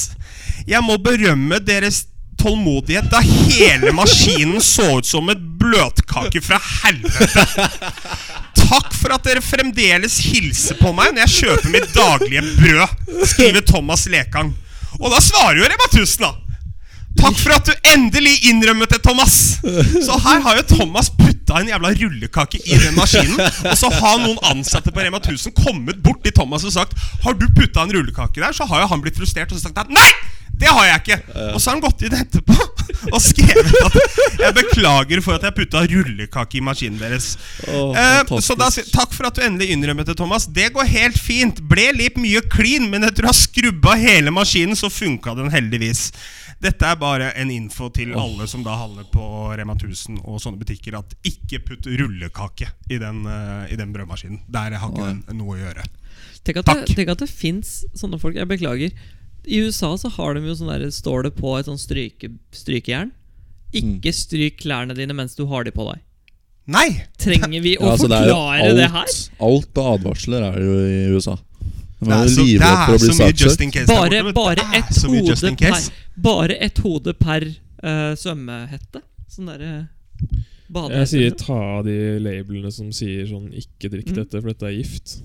Speaker 1: Jeg må berømme deres tålmodighet, da hele maskinen så ut som et bløtkake fra helvete. Takk for at dere fremdeles hilser på meg når jeg kjøper mitt daglige brød, skriver Thomas Lekang. Og da svarer jo Rema 1000, da. Takk for at du endelig innrømmet det, Thomas! Så her har jo Thomas putta en jævla rullekake i den maskinen. Og så har noen ansatte på Rema 1000 kommet bort til Thomas og sagt Har du putta en rullekake der? Så har jo han blitt frustrert og så sagt at nei! Det har jeg ikke! Og så har han gått inn etterpå og skrevet at jeg beklager for at jeg putta rullekake i maskinen deres.
Speaker 2: Å,
Speaker 1: Eh,
Speaker 2: fantastisk.
Speaker 1: så da, sier- takk for at du endelig innrømmet det, Thomas. Det går helt fint. Ble litt mye clean, men etter å ha skrubba hele maskinen, så funka den heldigvis. Dette er bare en info til alle som da handler på Rema 1000 og sånne butikker, at ikke putt rullekake i den, eh, i den brødmaskinen. Der har ikke den noe å gjøre.
Speaker 3: Tenk at, det, tenk at det fins sånne folk. Jeg beklager. I USA så har de jo sånn der, står det på et sånn stryke, strykejern.
Speaker 2: Mm.
Speaker 3: Ikke stryk klærne dine mens du har de på deg.
Speaker 1: Nei!
Speaker 3: Trenger vi å
Speaker 2: Ja, altså, det er jo
Speaker 3: forklare det her?
Speaker 2: alt, alt av advarsler er jo i USA. De
Speaker 1: Det
Speaker 2: er
Speaker 1: er så,
Speaker 2: jo
Speaker 1: det
Speaker 2: livredd
Speaker 1: er
Speaker 2: for å
Speaker 1: så
Speaker 2: bli
Speaker 1: mye just
Speaker 2: saksøkt.
Speaker 1: in case. der borte,
Speaker 3: Bare,
Speaker 1: vet du.
Speaker 3: bare,
Speaker 1: Det er
Speaker 3: ett
Speaker 1: så mye just
Speaker 3: hode
Speaker 1: in
Speaker 3: per,
Speaker 1: case.
Speaker 3: bare ett hode per eh, svømmehette. Sånn derre badehette.
Speaker 4: Jeg sier ta av de labelene som sier sånn 'ikke
Speaker 3: Mm.
Speaker 4: drikk dette, for dette er gift'.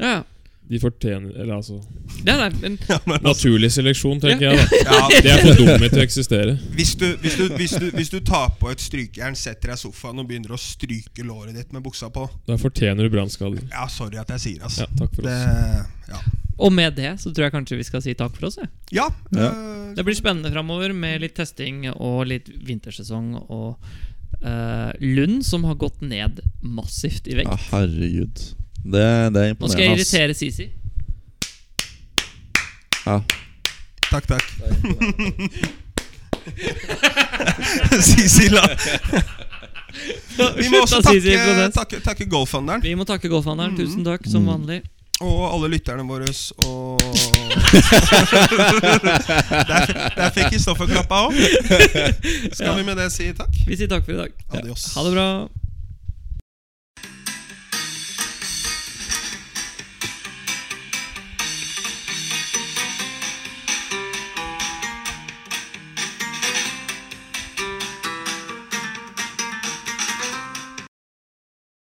Speaker 3: ja, ja.
Speaker 4: De fortjener Eller altså
Speaker 3: Nei, nei, men,
Speaker 4: Naturlig seleksjon, tenker
Speaker 3: Ja.
Speaker 4: jeg. da
Speaker 1: Ja,
Speaker 4: De er for dumme til å eksistere.
Speaker 1: Hvis du, hvis, du, hvis, du, hvis du tar på et strykejern, setter deg i sofaen og begynner å stryke låret ditt med buksa på
Speaker 4: Da fortjener du brannskader.
Speaker 1: Ja, sorry at jeg sier altså.
Speaker 4: Ja, takk for
Speaker 1: det.
Speaker 4: oss.
Speaker 1: Ja.
Speaker 3: og med det så tror jeg kanskje vi skal si takk for oss. Ja.
Speaker 1: ja,
Speaker 2: Ja.
Speaker 1: øh,
Speaker 3: Det blir spennende framover med litt testing og litt vintersesong og eh, Lund, som har gått ned massivt i vekt.
Speaker 2: Ja, herregud. Det, det er imponerende.
Speaker 3: Nå skal jeg
Speaker 2: ass.
Speaker 3: irritere Sisi.
Speaker 2: Ja.
Speaker 1: takk, takk. Sisila. Vi må også
Speaker 3: Slutta, Sisi, i
Speaker 1: takke,
Speaker 3: protest.
Speaker 1: takke, takke Mm. golfhandleren
Speaker 3: Vi må takke golfhandleren. Tusen takk, som vanlig.
Speaker 1: og alle lytterne våre. Og der, der fikk Kristoffer klappa òg. Skal vi med det si takk?
Speaker 3: Vi sier takk for i dag.
Speaker 1: Adios.
Speaker 3: Ha det bra.